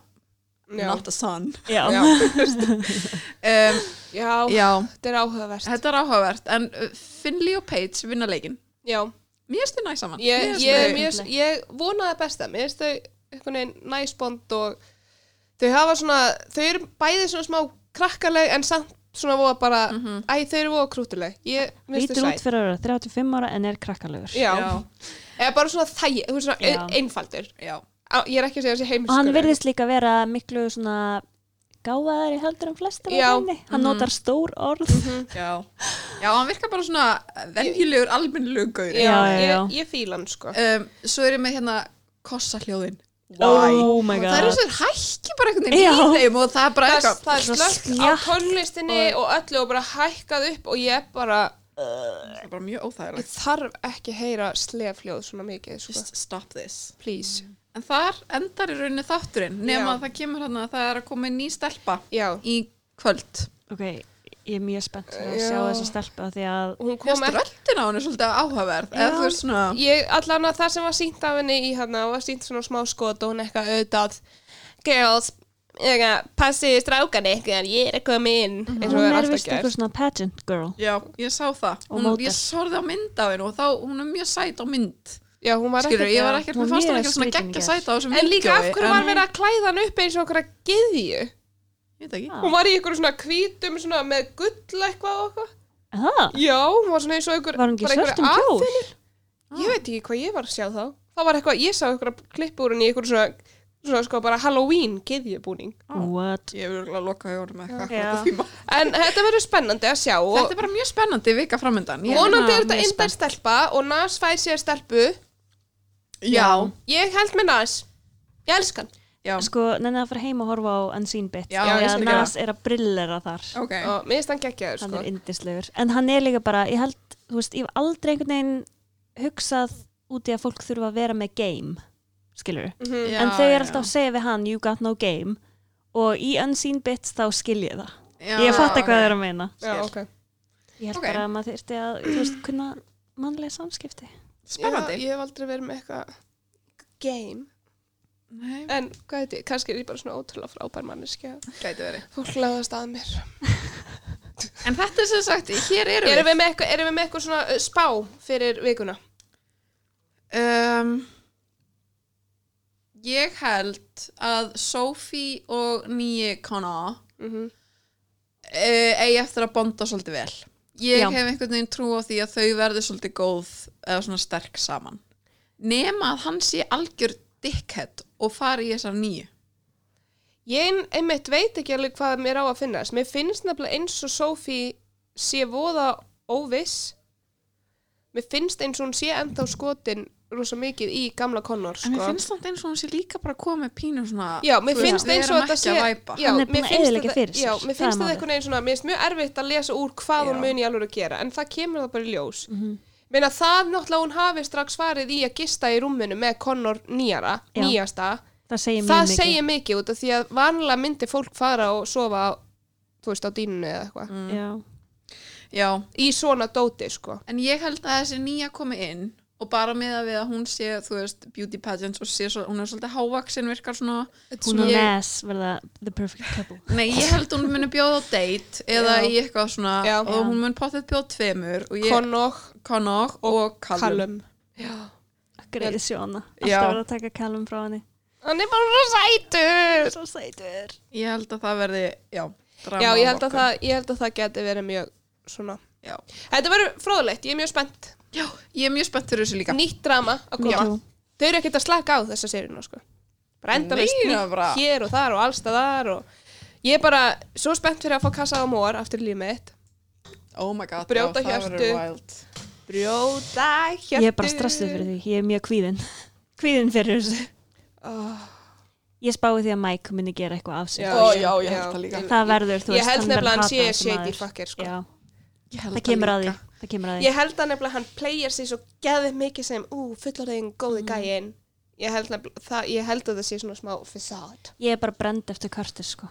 not a son
já.
Já.
um,
Já,
já,
þetta er áhugavert.
þetta er áhugavert en uh, Finley og Paige vinna leikin
Já,
mér erstu næ saman
ég,
Mér finnst
ég,
þau-
mér,
skemmtilegt.
ég vonaði besta. Mér finnst þau einhvern veginn næsbond og þau hafa svona, þau eru bæði svona smá krakkaleg en samt svona voða bara,
Mhm.
æ, þau eru voða krútuleg. Ég finnst þau
lítur út
sæt.
fyrir að vera 35 ára en er krakkalegur
Já.
Já.
Eða bara svona þæg, þú veist svona
Já.
ein- einfaldur.
já,
Á- Ég er ekki að segja þessi
og hann
heimskur.
virðist líka vera miklu svona gáfaðar í heldur en flestir
Já.
hann notar stór orð
já, já, hann virkar bara svona venjulegur, almennilegur gaur
Já,
Já, já,
ég,
já.
ég fíla hann sko.
um, svo er ég með hérna kossa hljóðin
oh my
Það
god
það er eins og þeir hækki bara einhvern veginn í
Já.
þeim og það er bara
Það,
eitthvað
það er
svona
slögt á
sljátt
tónlistinni og, öllu og bara hækkað upp og ég bara,
það er bara mjög
ég
óþægilegt
þarf ekki að heyra slefljóð svona mikið sko.
just stop this
Please.
en þar endar í rauninni þátturinn
Já.
nema að það kemur hérna að það er að koma ný stelpa
Já,
í kvöld
ok, ég er mjög spennt fyrir að
Já.
sjá þessa stelpu af því að
hún kom
Fyrst
ekki
röttin á henni er svolítið áhugaverð eða
Já.
þú veist svona
ég, allan að það sem var sínt af henni í hana var sínt svona smá skot og hún eitthvað auðvitað girls, eitthvað, passið strákan eitthvað, ég er að koma inn eins og
Mhm. hún
er
er
alltaf
vist
gert
eitthvað svona pageant girl
Já, ég sá það.
Og
Hún,
módel.
Mm, ég sorði á mynd af henni og þá, hún er mjög sæt á mynd.
Já, hún var
Skilur, ég var
ekki
ekkert, mér
Hún er
fannst hún
mjög
ekki svona
skrýtin í
geggja
gær.
sæt á þessum
En líka af hverju var
en-
verið að klæða hann upp eins og okkur að geðju
Ég veit ekki.
Ah.
Hún var í ykkur svona hvítum svona með gull eitthvað og eitthvað
Aha,
Já, hún var svona eins og ykkur
var hún ekki í
bara einhver
svörtum kjól
Ég veit ekki hvað ég var að sjá þá Það var eitthvað, ég sá ykkur að klippa úr henni í ykkur svona, svona sko bara Halloween geðjubúning
what
Ég vil örgulega loka hjá honum eitthvað. akkurat
Já.
á tíma.
En þetta verður spennandi að sjá og
Þetta er bara mjög spennandi vika hérna framöndan.
Von-
Vonandi
Já,
er þetta
mjög
indær stelpa og Nas fær sér stelpu.
Já.
Ég held með Nas. Ég elska hann.
Já.
sko, nenni að fara heim og horfa á Unseen Bit
Já,
ég
því
skal
að
gera
Nas er að brillera þar
Ok.
Og mér finnst hann geggjaður,
hann
sko.
er yndislegur, en hann er líka bara ég held, þú veist, ég hef aldrei einhvern veginn hugsað út í að fólk þurfa að vera með game, skilur
Mhm.
Já,
en þau
já.
er alltaf að segja við hann, you got no game og í Unseen Bits þá skil ég það
Já,
ég fatt
ok.
hvað þau eru að meina
Já, ok.
ég held
Ok.
bara að maður þyrfti að, þú veist, kunna mannlega samskipti
Spennandi.
Ég, ég hef aldrei verið með eitthvað game.
Nei,
En hvað heit ég? Kannski er ég bara svona ótrúlega frábær manneskja.
gæti verið.
Fólk laðast að mér.
En þetta er sem sagt, hér erum
Erum við með eitthvað, erum við með eitthvað svona uh, spá fyrir vikuna?
Um, ég held að Sophie og nýji Kana uh,
Mhm.
eh, eigi eftir að bonda svolítið vel. Ég
Já.
hef einhvern veginn trú á því að þau verði svolítið góð eða svona sterk saman. Nema að hann sé algjör dickhead og fari í þessar nýju.
Ég ein- einmitt veit ekki alveg hvað mér á að finnast. Mér finnst nefnilega eins og Sophie sé voða óviss. Mér finnst eins og hún sé ennþá skotin rosa mikið í gamla Connor, sko.
En mér finnst þetta eins og hún sé líka bara að koma með pínu svona
Já, mér
þú veist,
finnst
við
eins og
erum
þetta
ekki
sé...
að væpa.
Já,
Hann er
mér
búinn að
finnst
eyðileggja
þetta-
fyrir sér,
Já,
það
mér
er
finnst þetta
málið.
einhvern veginn svona, mér finnst mjög erfitt að lesa úr hvað hún
Já. Mhm.
muni alveg að gera, en það kemur það bara í ljós. Meina það náttúrulega hún hafi strax farið í að gista í rúminu með Connor nýjara,
Já.
nýjasta.
það segir
það
mjög mikið
segir mikið út af því að vanlega myndi fólk fara og sofa, á, þú veist, á dýnunni eða eitthvað.
Mm.
Já.
Já,
Í svona dóti, sko.
en ég held að þessi nýja komi inn og bara með að við að hún sé, þú veist, beauty pageants og sé, svo, hún er svolítið hávaksin virkar svona
hún og
Ég-
Nas verða the perfect couple
Nei, ég held hún muni bjóða á date eða
Já.
í eitthvað svona
Já.
og hún mun potið bjóða tveimur og ég,
Connor,
Connog og Callum
Callum.
greið sjóna,
Já.
alltaf verða að taka Callum frá henni
Hann er bara svo sætur!
svo sætur
Ég held að það verði, já, drama
Já,
á
ég held, að
morgun.
það, ég held að það geti verið mjög svona.
Já.
Þetta verður fróðlegt, ég er mjög spennt.
Já, ég er mjög spennt fyrir þessu líka
Nýtt drama að
Me
koma.
too.
Þau eru ekkert að slaka á þessa seríuna, sko. Bara endalaust
Nei, það
nýtt
bara-
hér og þar og allstaðar og ég er bara svo spennt fyrir að fá kassa á mór aftur í lífið mitt.
Oh my god,
Brjóta
já, það verður
hjörtu.
wild
Brjóta hjörtu.
ég er bara stressið fyrir því, ég er mjög kvíðin kvíðin fyrir þessu
Oh,
ég spái því að Mike muni gera eitthvað af sig
Já. Ó, ég held það líka.
það verður, þú veist,
Ég held
verður
nefnilega hann
hatað
sé
sem
shady
maður.
fucker, sko.
Já,
Ég held
það kemur að því,
líka.
það kemur að því.
Ég held að nefnilega hann playar sig svo geðið mikið sem, ú, fullorðin, góði
Mm.
gæinn. Ég held, nefnilega- það, ég held að það sé svona smá facade.
Ég er bara brend eftir Curtis sko.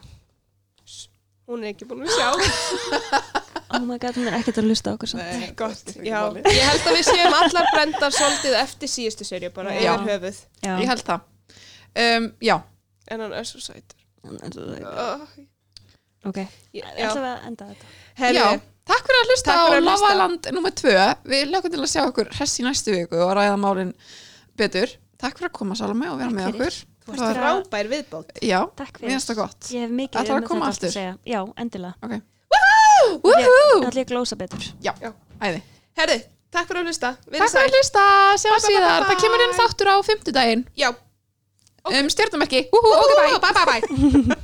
Hún er ekki búin að sjá.
oh my god, hún er ekkert að hlusta á okkur samt.
Nei,
Gott,
skiptir ekki
já.
máli.
Ég held að við séum allar brendar svolítið eftir síðustu serju bara
Já.
yfir höfuð.
Já.
Ég held það. Um, já,
En hann er svo sætur. Oh,
Ok,
ég, já.
ætlum við að enda þetta.
Herri,
já. Takk fyrir að hlusta
Takk
á
fyrir að hlusta.
Lavaland nr. 2. Við lögum til að sjá okkur hress í næstu viku og ræða málin betur. Takk fyrir að koma Salome og vera
Takk
með
fyrir.
okkur.
Þú
Það
ert
var-
frábær viðbót.
Já,
Takk
mér
fyrir.
finnst það gott.
Ég hef mikið
Ætlarðu að
um
koma
þetta allt
aftur?
að segja. Já, endilega.
Ok. Woohoo!
Það ætlum ég að glósa betur.
Æði.
Herri, takk fyrir að hlusta. Verið
Takk fyrir að hlusta, sjáum
Bye, bye,
síðar.
bye,
Það kemur inn
bye.
þáttur á fimmtudaginn
Já,
um stjórnumerki. Woohoo,
Woohoo,
bye bye bye.